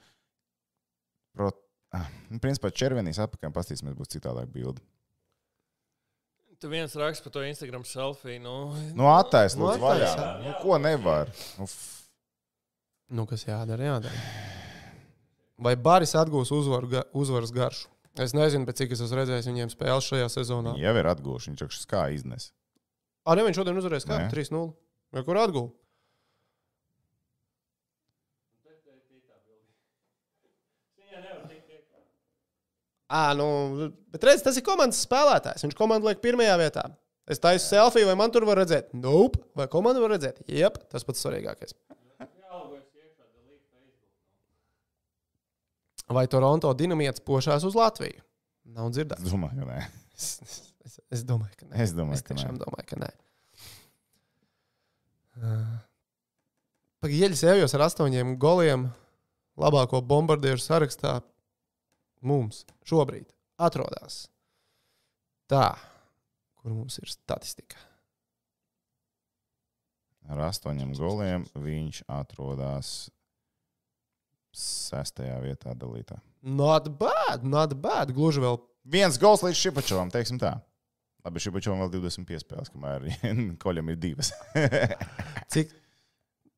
Speaker 2: Pro... Ah, nu, principā červenīs apakām pastīsimies, būs citādāk bildi.
Speaker 3: Tu viens raksts par to Instagram selfiju. Nu,
Speaker 2: Nu, attais,
Speaker 1: Nu,
Speaker 2: lūdzu, vaļā.
Speaker 1: attais,
Speaker 2: Nu, ko nevar? Uf.
Speaker 1: Nu, kas jādara, jādara. Vai Baris atgūs uzvaru, ga- uzvaras garšu? Es nezinu, bet cik es esmu redzējis viņiem spēles šajā sezonā.
Speaker 2: Viņi jau ir atguvuši, viņš taču kā iznes.
Speaker 1: Ar nevienu šodien uzvarēs kā
Speaker 2: Nē.
Speaker 1: 3-0. Vai kur atgūl? Ā, nu, bet redziet, tas ir komandas spēlētājs. Viņš komandu liek pirmajā vietā. Es taisu selfiju, vai man tur var redzēt? Nope. Vai komanda var redzēt? Jā, tas pats svarīgākais. Vai Toronto dinamīts pošās uz Latviju? Nav
Speaker 2: Es
Speaker 1: dzirdēts.
Speaker 2: domāju, ka nē.
Speaker 1: Es, es, es domāju, ka nē.
Speaker 2: Es domāju,
Speaker 1: Es
Speaker 2: ka nē.
Speaker 1: tiešām domāju, ka nē. Pagaidiņš ejos ar astoņiem goliem labāko bombardieru sarakstā. Mums šobrīd atrodas tā, kur mums ir statistika.
Speaker 2: Ar astoņiem goliem viņš atrodas sestajā vietā dalītā.
Speaker 1: Not bad, not bad. Gluži vēl
Speaker 2: Viens gols līdz Šipačovam, teiksim tā. Labi, Šipačovam vēl 25 spēles, kamēr Koļam ir divas.
Speaker 1: cik,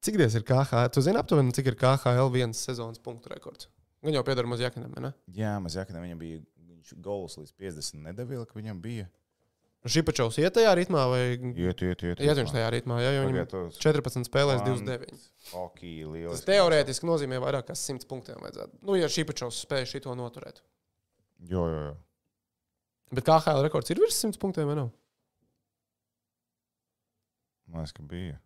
Speaker 1: cik diez ir KHL. Tu zini aptuveni, cik ir KHL viens sezonas punktu rekords. Gan jau piedara Mazjakinam, ne?
Speaker 2: Jā, maz jākatā, viņam bija viņš gols līdz 50 nedavīja, ka viņam bija.
Speaker 1: Šipačovs iet tajā ritmā vai
Speaker 2: Iet, iet, iet.
Speaker 1: iet viņš tajā ritmā? Jā, jau viņam
Speaker 2: Tagad uz
Speaker 1: 14 spēlēs
Speaker 2: Man-
Speaker 1: 29.
Speaker 2: hockey
Speaker 1: Tas
Speaker 2: lieliski.
Speaker 1: teorētiski nozīmē vairāk kā 100 punktiem. Vajadzētu. Nu, ja šī pačaus spēja šito noturēt.
Speaker 2: Jo, jo, jo.
Speaker 1: Bet KHL rekords ir virs 100 punktiem, vai ne?
Speaker 2: Man liekas, ka bija.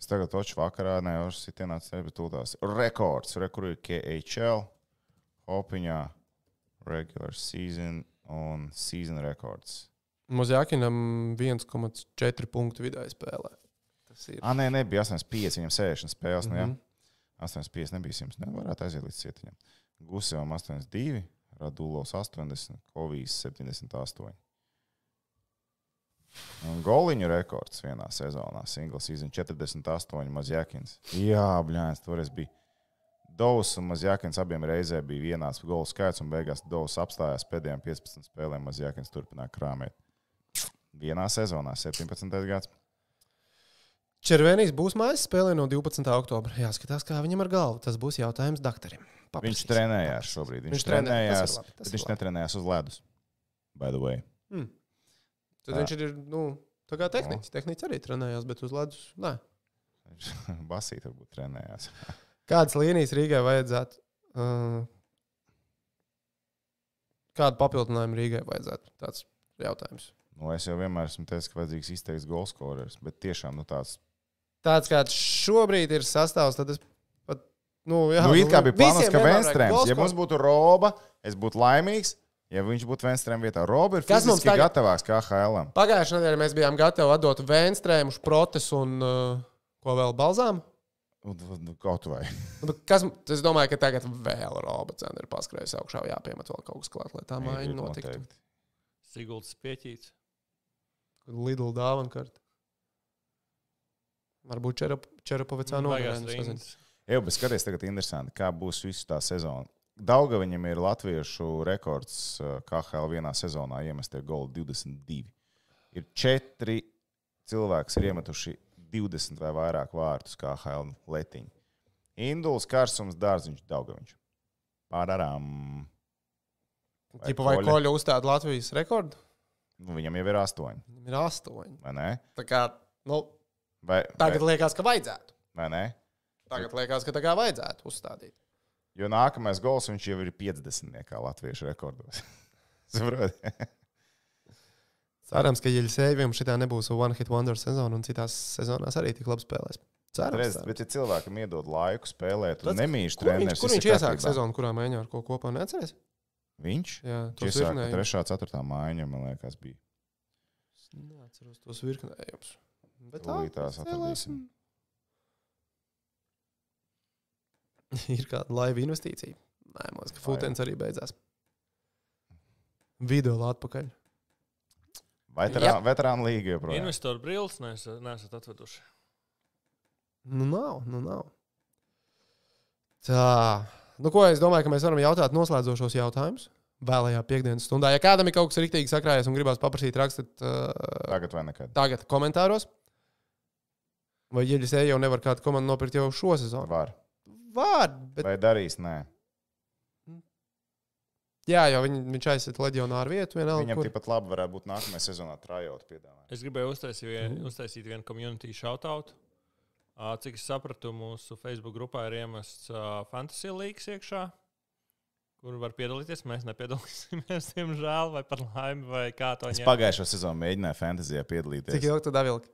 Speaker 2: Es tagad toču vakarā, ne, jau sitienā ceļā, bet tūlītās rekords, rekurija KHL, Hopiņā, regular season un season records.
Speaker 1: Mazjākinam 1,4 punktu vidēji spēlē. Tas ir.
Speaker 2: Ah, nē, nebija 85, viņam 60 spēles, nu jā.
Speaker 1: Mhm.
Speaker 2: 85 nebija 100, nevarētu aiziet līdz cietiņam. Gusevam 82, Radulovs 80, Kovijs 78. Un goliņu rekords vienā sezonā, single season 48, Mazjakins. Jā, blēņas, toreiz bija. Dovs un Mazjakins abiem reizē bija vienāds gola skaits, un beigās Dovs apstājās pēdējām 15 spēlēm. Mazjakins turpināja krāpēt. Vienā sezonā, 17. gads.
Speaker 1: Červenīs būs mājas spēlē no 12. oktobra. Jāskatās, kā viņam ar galvu. Tas būs jautājums doktoram.
Speaker 2: Viņš trenējās šobrīd. Viņš,
Speaker 1: Viņš
Speaker 2: viņš
Speaker 1: trenē, tas ir
Speaker 2: trenējās,
Speaker 1: labi, tas
Speaker 2: bet
Speaker 1: ir
Speaker 2: viņš
Speaker 1: labi.
Speaker 2: netrenējās uz ledus. By the way.
Speaker 1: Tad viņš ir nu, tā kā tehnicis. Tehnicis arī trenējās, bet uz ledus. Nē.
Speaker 2: Basīt, varbūt trenējās.
Speaker 1: Kādas līnijas Rīgai vajadzētu? Uh, kādu papildinājumu Rīgai vajadzētu? Tāds jautājums.
Speaker 2: Nu, es jau vienmēr esmu teicis, ka vajadzīgs izteikts golskorers, bet tiešām nu, tāds
Speaker 1: tāds kāds šobrīd ir sastāvs, tad es pat. Nu, jā,
Speaker 2: - nu, it kā bija plānots,
Speaker 1: visiem
Speaker 2: ka
Speaker 1: vienmēr
Speaker 2: Venstrēms,
Speaker 1: vajag
Speaker 2: ja
Speaker 1: goals,
Speaker 2: mums būtu roba, es būtu laimīgs, ja viņš būtu Venstrēms vietā. Roba ir
Speaker 1: Kas mums
Speaker 2: fiziski
Speaker 1: tagad-
Speaker 2: tagad... gatavāks kā HLM.
Speaker 1: Pagājušajā nedēļā mēs bijām gatavi atdot Venstrēmu, Šprotes un uh, ko vēl balzām.
Speaker 2: Un- un- un Kaut vai.
Speaker 1: Nu, bet Kas, es domāju, ka tagad vēl Roba cena ir paskrējusi augšā. Jāpiemet vēl kaut kas klāt, lai tā maiņa
Speaker 2: Ir
Speaker 1: notiktu.
Speaker 2: noteikti.
Speaker 3: Siguldas pieķīts.
Speaker 1: Lidl dāvana kārta. Varbūt Čerap- Čerapovicā
Speaker 3: Nu, Baigās
Speaker 1: nogalināja.
Speaker 3: rindas.
Speaker 2: Jā, bet skaties, tagad interesanti, kā būs visu tā sezona. Dauga viņam ir latviešu rekords eh, KHL vienā sezonā iemestie goli 22. Ir četri cilvēki, ir iemetuši 20 vai vairāk vārtus KHL letiņu. Induls, Kārsums, Dārziņš, Daugaviņš. Pārarām. Vai
Speaker 1: Tipa vai
Speaker 2: Koļa?
Speaker 1: koļa uzstāda Latvijas rekordu?
Speaker 2: Nu, viņam jau ir astoņi,
Speaker 1: Viņam ir astoņi.
Speaker 2: vai ne?
Speaker 1: Tā kā, nu,
Speaker 2: Vai,
Speaker 1: tagad liekas, ka vajadzētu.
Speaker 2: vai, vai ne?
Speaker 1: Tagad liekas, ka tā kā vajadzētu uzstādīt.
Speaker 2: Jo nākamais gols viņš jau ir 50. kā latviešu rekordos. Saprotiet?
Speaker 1: Cerams, ka Jeļsēvijam šitā nebūs one hit wonder sezona un citās sezonās arī tik labi spēlēs. Cerams,
Speaker 2: Redz, bet, ja cilvēkam iedod laiku spēlēt,
Speaker 1: Redz,
Speaker 2: tad nemīļš
Speaker 1: kur
Speaker 2: treniņš.
Speaker 1: viņš, kur viņš iesāka sezonu, kurā mēģināja ar ko kopā neatcerēties?
Speaker 2: Viņš
Speaker 1: Jā,
Speaker 2: Viņš
Speaker 1: tos
Speaker 2: iesāka
Speaker 1: virknējumus.
Speaker 2: 3. un 4. mājiņa, man liekas, bija.
Speaker 1: Es Neatceros tos virknējumus. Bet tā,
Speaker 2: Tūlīt tās atradīsim.
Speaker 1: spēlēsim. ir kāda laiva investīcija. Nē, man liekas, ka Futens arī beidzās. Video atpakaļ.
Speaker 2: Veterā, veterāna līga joprojām.
Speaker 3: Investoru brīvs nesat atveduši.
Speaker 1: Nu, nav, nu, nav. Tā. Nu, ko es domāju, ka mēs varam jautāt noslēdzošos jautājumus vēlajā piekdienas stundā. Ja kādam ir kaut kas rīktīgi sakrājies un gribās paprasīt, rakstiet uh,
Speaker 2: Tagad vai nekad.
Speaker 1: tagad komentāros. Vai Ieģis E jau nevar kādu komandu nopirkt jau šo sezonu?
Speaker 2: Var.
Speaker 1: Var, bet
Speaker 2: Vai darīs? Nē.
Speaker 1: jā, jau viņ, viņš aizsit leģionāru vietu vienalga.
Speaker 2: Viņam
Speaker 1: Kur.
Speaker 2: tikpat labi varētu būt nākamajā sezonā trajot piedāvājums.
Speaker 3: Es gribēju uztaisīt, vien,
Speaker 1: Mm.
Speaker 3: uztaisīt vienu community shoutout. Ā, Cik es sapratu, mūsu Facebook grupā ir iemests ā, Fantasy League iekšā, kur var piedalīties. Mēs nepiedalīsimies, diemžēl, vai par laimi, vai kā to
Speaker 2: Es
Speaker 3: ņemt.
Speaker 2: pagājušo sezonu mēģināju fantāzijā piedalīties.
Speaker 1: Cik ilgi tad vilka?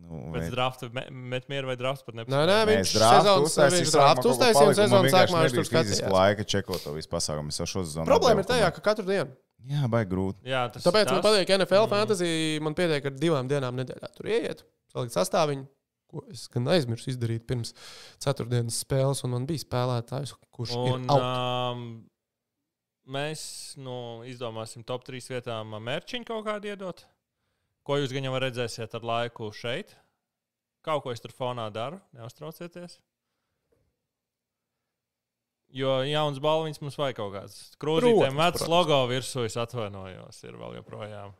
Speaker 2: Nu,
Speaker 3: Pēc drafta, metmieru vai drafta pat
Speaker 1: Nē,
Speaker 3: nepasaka.
Speaker 1: nē,
Speaker 2: Nē,
Speaker 1: viņš
Speaker 2: es draftu
Speaker 1: sezonas
Speaker 2: uztaisīju,
Speaker 1: viņš
Speaker 2: sākumā
Speaker 1: draftu
Speaker 2: kaut ko
Speaker 1: uztaisīja un
Speaker 2: paliku, man
Speaker 1: sezonas
Speaker 2: vienkārši
Speaker 1: sākumā viņš
Speaker 2: nebija
Speaker 1: tur
Speaker 2: fiziski
Speaker 1: skatījās.
Speaker 2: laika čekot to visu pasākumu. Es jau šo sezonu
Speaker 1: Problēma ir
Speaker 2: atdevu
Speaker 1: tajā,
Speaker 2: komandu.
Speaker 1: ka katru dienu.
Speaker 2: Jā, vai grūti.
Speaker 3: Jā, tas
Speaker 1: Tāpēc
Speaker 3: tas, Mm.
Speaker 1: man patīk NFL fantasy. Man pietiek ar divām dienām nedēļā. Tur ieiet, salikt sastāviņu, ko es gan aizmirsu izdarīt pirms ceturtdienas spēles, un man bija spēlētājs, kurš
Speaker 3: Un,
Speaker 1: ir out.
Speaker 3: um, mēs nu, izdomāsim top 3 vietām mērķiņu kaut kādu iedot. Ko jūs gan jau redzēsiet ar laiku šeit? Kaut ko es tur fonā daru, neuztraucieties. Jo jauns balvīns mums vajag kaut kāds. Krūzītēm
Speaker 1: Protams,
Speaker 3: vecs
Speaker 1: protams.
Speaker 3: logo virsū, es atvainojos, ir vēl joprojām.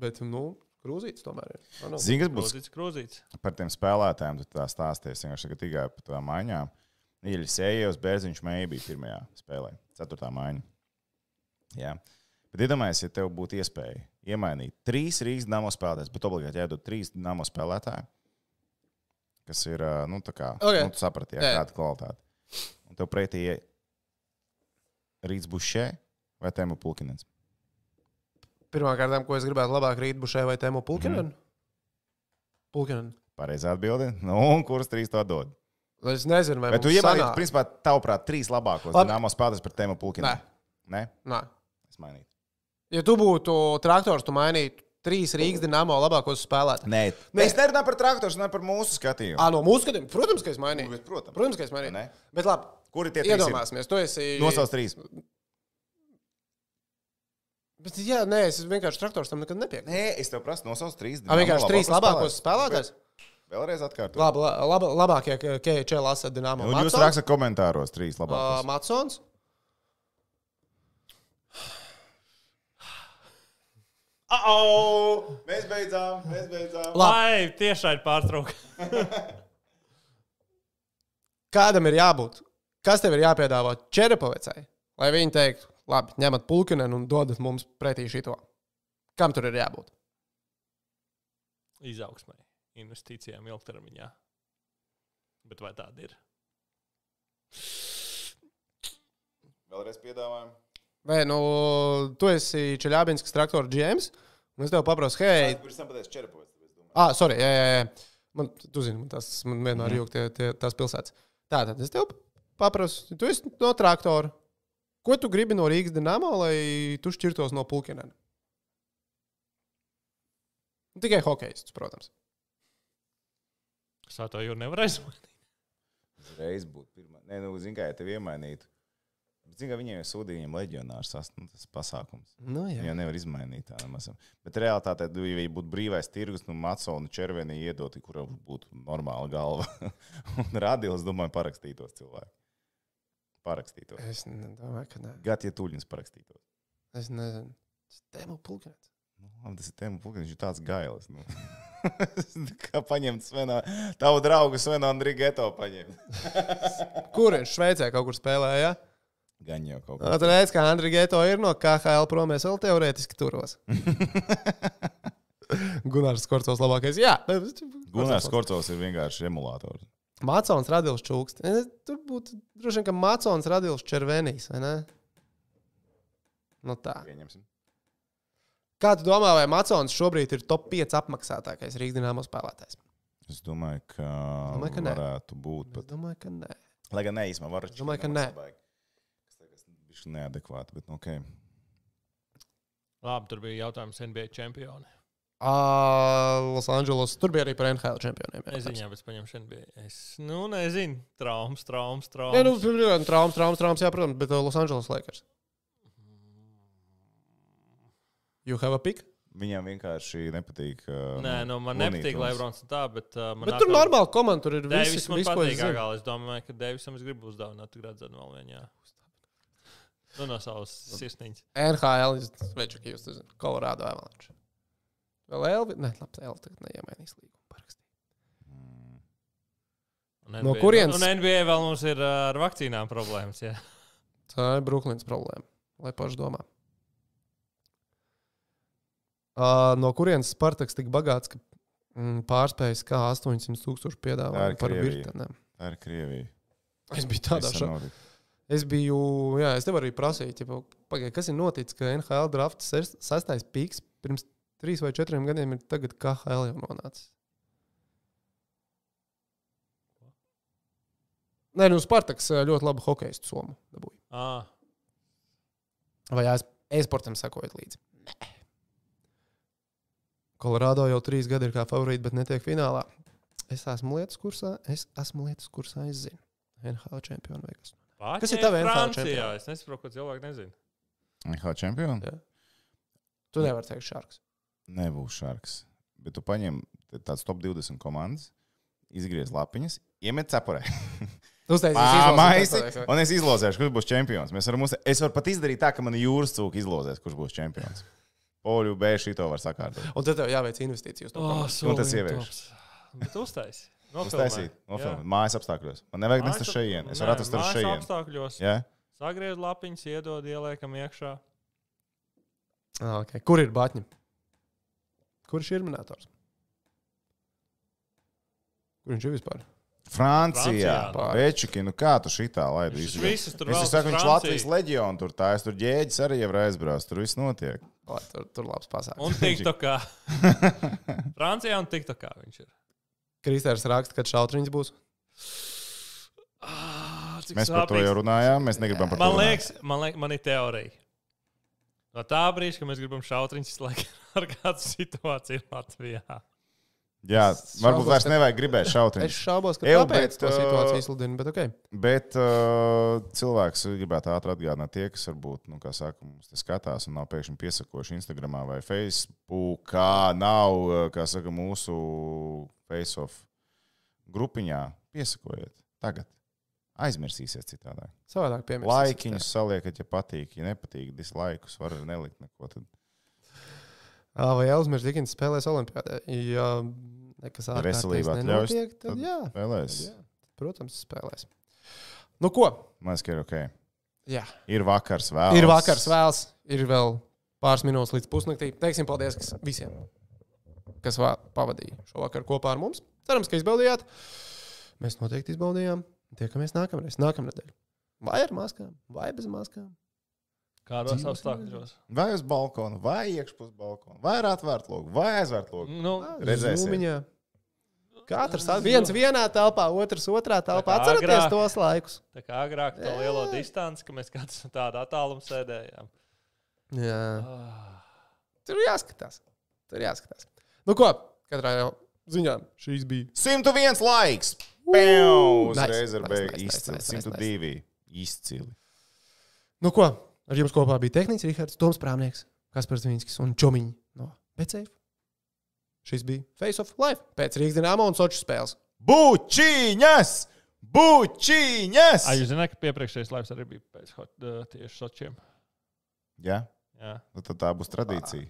Speaker 1: Bet, nu, grūzīts tomēr ir. Man nav-
Speaker 2: Zini, kas būs
Speaker 3: Krūzīts, krūzīts.
Speaker 2: par tiem spēlētājiem, tad tā stāsties vienkārši tagad tikai par tām maiņām. Iļis Ejevs, Bērziņš Meija bija pirmajā spēlē, ceturtā maiņa. Jā. Bet iedomājieties, ja tev būtu iespēja iemainīt trīs Rīgas dāmas spēlētājus, bet obligāti jādod trīs dāmas spēlētāji, kas ir, ā, nu, tā kā,
Speaker 1: Ok.
Speaker 2: okay. nu, tu saprati, jā,
Speaker 1: Jā.
Speaker 2: kāda kvalitāte. Un tev pretī ir Rīts Bušē vai Tēma Pulkinens.
Speaker 1: Pirmkārt, ko es gribētu labāk rīt bušai vai tēmu
Speaker 3: Mhm.
Speaker 1: pulkinam? Pulkinam.
Speaker 2: Pareizā atbilde. Nu, un kuras trīs to dod?
Speaker 1: Es nezinu, vai
Speaker 2: Bet tu
Speaker 1: mums
Speaker 2: iemainītu,
Speaker 1: sanāk.
Speaker 2: principā, tavuprāt, trīs labākos
Speaker 1: Labi.
Speaker 2: dāmas spēlētājus par Tēma Pulkinenu.
Speaker 1: Nē.
Speaker 2: Nē?
Speaker 1: Nā.
Speaker 2: Es mainītu.
Speaker 1: Ja tu būtu traktors, tu mainītu trīs Rīgas dīnāmo labākos spēlētājus.
Speaker 2: Nē, Nē. es nerunāju par traktoru, es runāju par mūsu skatījumu.
Speaker 1: Ah, no mūsu skatījuma, protams, ka es mainīju.
Speaker 2: Bet, protams.
Speaker 1: protams ka es mainīju.
Speaker 2: Ne?
Speaker 1: Bet labi,
Speaker 2: Kur ir tie trīs?
Speaker 1: iedomāsimies, tu esi.
Speaker 2: Nosauc trīs.
Speaker 1: Bet, jā, nē, es vienkārši traktors tam nekad nepiekrītu.
Speaker 2: Nē, es tev prasu, nosauc trīs.
Speaker 1: Tā vienkārši
Speaker 2: Dinamo
Speaker 1: trīs labākos spēlētājus.
Speaker 2: Vēlreiz atkārtoju.
Speaker 1: Labi, labi, labākie KHL asat Dienāmo.
Speaker 2: Un jūs
Speaker 1: Matsons,
Speaker 2: rakstat komentāros trīs
Speaker 1: ā,
Speaker 2: labākos.
Speaker 1: Matsons.
Speaker 2: Au! Mēs beidzām, mēs beidzām.
Speaker 1: Labi.
Speaker 3: Lai tiešām ir pārtraukts.
Speaker 1: Kādam ir jābūt? Kas tev ir jāpiedāvā Čerepovecai, lai viņi teiktu, labi, ņemat pulkinenu un dodat mums pretī šito? Kam tur ir jābūt?
Speaker 3: Izaugsmai, investīcijām ilgtermiņā. Bet vai tāda ir?
Speaker 2: Vēlreiz piedāvājumu.
Speaker 1: Vai, nu, tu esi Čeļābinskas traktora GMs, un es tev paprasu, hei,
Speaker 2: Pirms tam pateicu Čerepovs. tāpēc domāju.
Speaker 1: Ah, sorry, jā, jā, jā. Man, tu zini, man tas man vienmēr ir jūg tie, tie, tās pilsētas. Tā tad es tev paprasu, tu esi no traktora. Ko tu gribi no Rīgas dīnāmā, lai tu šķirtos no pulkinena? Nu, Tikai hokejists, protams.
Speaker 3: Es to jau nevaru aizmirst.
Speaker 2: Uzreiz būtu pirmā. Nē, nu, zini, kā ja tev iemainītu. Zini, kā viņiem ir sūdīgi, viņiem leģionārs sas- nu, tas pasākums.
Speaker 1: Nu,
Speaker 2: Jā, nevar izmainīt tādu mazu. Bet realitātē, du- ja būtu brīvais tirgus, nu, Macona červenī iedot, kurā būtu normāla galva. un radījis, domāju, parakstītos cilvēku. Parakstītos.
Speaker 1: Es domāju, ka nē.
Speaker 2: Gat, ja tuļņus parakstītos.
Speaker 1: Es nezinu. Tēmu pulkinens.
Speaker 2: Nu, labi, tas ir tēma, pūkstens, viņš ir tāds gailis. Nu. Kā paņemt Svenu, tavu draugu Svenu Andrigeto paņemt.
Speaker 1: Kur viņš Šveicē kaut kur spēlēja?
Speaker 2: Gan jau kaut kā.
Speaker 1: Tur Nu, redz, ka Andriņš Geto ir no KHL prom, es vēl teorētiski turos. Gunārs Skorcovs labākais. Jā,
Speaker 2: Gunārs Korcovs ir vienkārši emulators.
Speaker 1: Mācons radījis čūskas. Tur būtu droši vien, ka Mācons radījis červenīs, vai ne? Nu tā.
Speaker 2: Pieņemsim.
Speaker 1: Kā tu domā, vai Mācons šobrīd ir top 5 apmaksātākais Rīgas dīnāmo spēlētājs?
Speaker 2: Es domāju, ka,
Speaker 1: Domāju, ka nē.
Speaker 2: varētu būt.
Speaker 1: Es
Speaker 2: Bet...
Speaker 1: domāju, ka nē.
Speaker 2: Lai gan neizmā varu.
Speaker 1: Es domāju, ka nē.
Speaker 2: Viņš ir neadekvāti, bet nu, ok.
Speaker 3: Labi, tur bija jautājums NBA čempionam.
Speaker 1: Ā, Losandželos. Tur bija arī par NHL čempioniem.
Speaker 3: Es
Speaker 1: jautājums.
Speaker 3: viņā bez paņemšanas biju. Es, nu, nezinu, traumas, traumas,
Speaker 1: Nē, nu,
Speaker 3: traumas.
Speaker 1: piemēram, traumas, traumas, traumas, jā, protams, bet uh, Losandželos Lakers. You have a pick?
Speaker 2: Viņam vienkārši nepatīk. Uh,
Speaker 3: Nē, nu, man
Speaker 2: Looney
Speaker 3: nepatīk
Speaker 2: Tunes.
Speaker 3: Lebrons un tā, bet uh, man
Speaker 1: Bet tur normāli komanda, tur ir visi,
Speaker 3: Deivis man
Speaker 1: visu, ko es
Speaker 3: patīk.
Speaker 1: zinu.
Speaker 3: Es domāju, ka Deivisam es gribu uzdāvināt gradzenu vēl vienā. Nu, no savas sirsniņas.
Speaker 1: NHL, Svečuk, jūs zināt, Colorado Avalanche. Vēl Elvi? Nē, labi, Elvi tagad neiemainīs līgumu parakstīt.
Speaker 2: mm,
Speaker 3: Un
Speaker 1: No
Speaker 3: NBA
Speaker 1: kurienes?
Speaker 3: Un NBA vēl mums ir uh, ar vakcīnām problēmas. Jā.
Speaker 1: Tā ir Brooklyns problēma, lai paši domā. Uh, no kurienes Spartaks tik bagāts, ka mm, pārspējas kā 800 tūkstoši
Speaker 2: Tā ir
Speaker 1: piedāvājumu par
Speaker 2: Krievija.
Speaker 1: virtenēm?
Speaker 2: Tā ir Krievija.
Speaker 1: Es biju tādā
Speaker 2: Viss
Speaker 1: šokā.
Speaker 2: notika.
Speaker 1: Es biju, jā, es tev arī prasīju, ja, pagaidi, kas ir noticis, ka NHL drafta ses- sastais piks pirms trīs vai četriem gadiem ir tagad KHL jau nonācis. Nē, nu Spartaks ā, ļoti labu hokeju somu dabūja.
Speaker 3: Ah,
Speaker 1: Vai es e-sportam sakojat līdzi? Nē. Kolorādo jau trīs gadi ir kā favorīti, bet netiek finālā. Es esmu lietas kursā, es esmu lietas kursā, es zinu. NHL čempionu veikas. Kas ir tava NFL
Speaker 3: Francijā?
Speaker 1: čempioni?
Speaker 3: Es nesaprotu, ko cilvēki nezina.
Speaker 2: NHL čempions?
Speaker 1: Jā. Tu nevari teikt šārks.
Speaker 2: Nebūs šarks. Bet tu paņem t- tāds top 20 komandas, izgriez lapiņas, iemet cepurē.
Speaker 1: Nu,
Speaker 2: Māmaisi,
Speaker 1: Uztaisīs
Speaker 2: un es izlozēšu, kurš būs čempions. Mēs varam, uzta- es varu pat izdarīt tā, ka man jūras cūka izlozēs, kurš būs čempions. Poļu B šito var sakārtot.
Speaker 1: Un tad tev jāveic investīcijas. Oh.
Speaker 2: Un tas ievieš.
Speaker 3: Bet uztaisīt.
Speaker 2: Uztaisīt, nofilmēt. Mājas apstākļos. Man nevajag nest uz šejienes. Es varu atrast uz šejienes.
Speaker 3: apstākļos.
Speaker 2: Jā,
Speaker 3: Sagriezt lapiņas, iedod, ieliekam iekšā.
Speaker 1: Okay. Kur ir Batņa? Kurš ir minētājs? Kur viņš ir vispār?
Speaker 2: Francijā.
Speaker 3: Francijā.
Speaker 2: Večuki, nu kā tu šitā laidi?
Speaker 3: Viņš
Speaker 2: visu?
Speaker 3: visus tur
Speaker 2: Es
Speaker 3: velk
Speaker 2: jau
Speaker 3: uz
Speaker 2: saku, viņš
Speaker 3: Franciju.
Speaker 2: Latvijas leģionu tur tā, es tur ģēģis arī jau aizbraucu, tur viss notiek.
Speaker 1: Lai, tur tur labs pasākums.
Speaker 3: Un TikTokā. Francijā un TikTokā viņš ir.
Speaker 1: Kristēns raksta, kad šautriņš būs.
Speaker 3: Ah, cik
Speaker 2: Mēs par to
Speaker 3: sāpīgs.
Speaker 2: jau runājām, mēs negribam par to.
Speaker 3: Man
Speaker 2: runāt.
Speaker 3: liekas, man liekas, man ir teorija. No tā brīža, kad mēs gribam šautriņus, lai ar kādu situāciju Latvijā.
Speaker 2: Jā, varbūt
Speaker 1: šaubos,
Speaker 2: vairs
Speaker 1: ka-
Speaker 2: nevajag gribēt
Speaker 1: Es
Speaker 2: šautriņš.
Speaker 1: šaubos, ka
Speaker 2: Eju,
Speaker 1: tāpēc
Speaker 2: bet,
Speaker 1: tā
Speaker 2: uh,
Speaker 1: situācija izsludina, bet ok.
Speaker 2: Bet uh, cilvēks gribētu ātri atgādināt tie, kas varbūt, nu, kā saka, mums te skatās un nav pēkšņi piesakoši Instagram vai Facebook, kā nav, uh, kā saka, mūsu face-off grupiņā. Piesakojiet tagad. Aizmirsīsiet citādi.
Speaker 1: Savādāk piemēram.
Speaker 2: Laikiņus saliekat, ja patīk, ja nepatīk, dislaikus var arī nelikt neko. Tad
Speaker 1: Vai Elzmērs Digins spēlēs Olimpijādē? Jā, nekas
Speaker 2: Ja
Speaker 1: ārkārtējs
Speaker 2: veselība atļaus,
Speaker 1: nenotiek, Tad,
Speaker 2: tad-
Speaker 1: jā,
Speaker 2: vēlēs.
Speaker 1: jā, protams, spēlēs. Nu ko?
Speaker 2: Man liekas, ka ir ok.
Speaker 1: Jā.
Speaker 2: Ir vakars vēl.
Speaker 1: Ir vakars vēls, ir vēl pāris minūtes līdz pusnaktī. Teiksim paldies kas- visiem, kas vā- pavadīja šo vakaru kopā ar mums. Cerams, ka izbaudījāt. Mēs noteikti izbaudījām. Tiekamies nākamreiz, nākamnedēļ. Vai ar maskām, vai bez maskām.
Speaker 3: Kādos
Speaker 1: Dzīvo
Speaker 3: apstākļos?
Speaker 2: Vai uz balkona, vai iekšpus balkona, vai ar atvērtu logu, vai aizvērtu logu.
Speaker 3: Nu,
Speaker 2: Redzēsim.
Speaker 1: Zūmiņā. Katrs at- viens vienā telpā, otrs otrā telpā.
Speaker 3: kā
Speaker 1: Atcerieties
Speaker 3: agrā.
Speaker 1: tos laikus.
Speaker 3: tā kā agrāk tā lielo distanci, ka mēs kāds tādā attālumā sēdējām.
Speaker 1: Jā.
Speaker 3: Ah,
Speaker 1: Tur jāskatās. Tur jāskatās. Nu ko, katrā jau ziņā šīs bija.
Speaker 2: 101 laiks! Pēl!
Speaker 1: Nice,
Speaker 2: Uzreiz
Speaker 1: nice,
Speaker 2: ar
Speaker 1: nice,
Speaker 2: beigu
Speaker 1: nice,
Speaker 2: izcili.
Speaker 1: nice, nice,
Speaker 2: 102. Izcili.
Speaker 1: Nu, ko? Ar jums kopā bija tehnicis Rīgards, Toms Prāmnieks, Kaspars Zvinskis un Čomiņš no Beceļa. Šis bija Face of Life pēc Rīgas dīnāmā un Sočas spēles.
Speaker 2: Bučiņas! Bučiņas!
Speaker 3: jūs zināt, ka piepriekšējais laiks arī bija pēc hot, uh, tieši sočiem.
Speaker 2: Jā,
Speaker 3: Jā.
Speaker 2: nu tad tā būs tradīcija.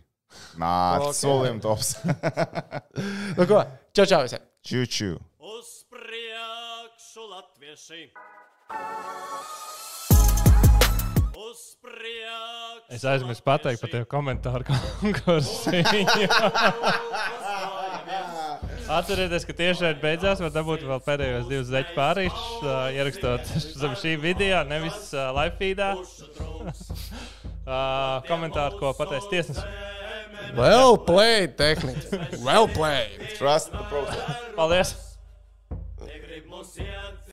Speaker 1: Ah.
Speaker 2: Nāc,
Speaker 1: Ok.
Speaker 2: solim tops.
Speaker 1: Nu, ko? Čau, čau visiem!
Speaker 2: Čuču!
Speaker 4: Uz priekšu latvieši! Uz priekšu!
Speaker 3: Es aizmirsu pateikt par
Speaker 4: latvieši.
Speaker 3: tiem komentāru konkursiem. Atcerieties, ka tieši šeit beidzās, vai dabūt vēl pēdējos divus zeķu pārīšus, uh, ierakstot zem šī video, nevis uh, live feedā. Uh, komentāru, ko pateiks tiesnesis.
Speaker 1: Well played, tehnicis! Well played!
Speaker 2: Trust the process!
Speaker 3: Paldies!
Speaker 4: Negrib mums iet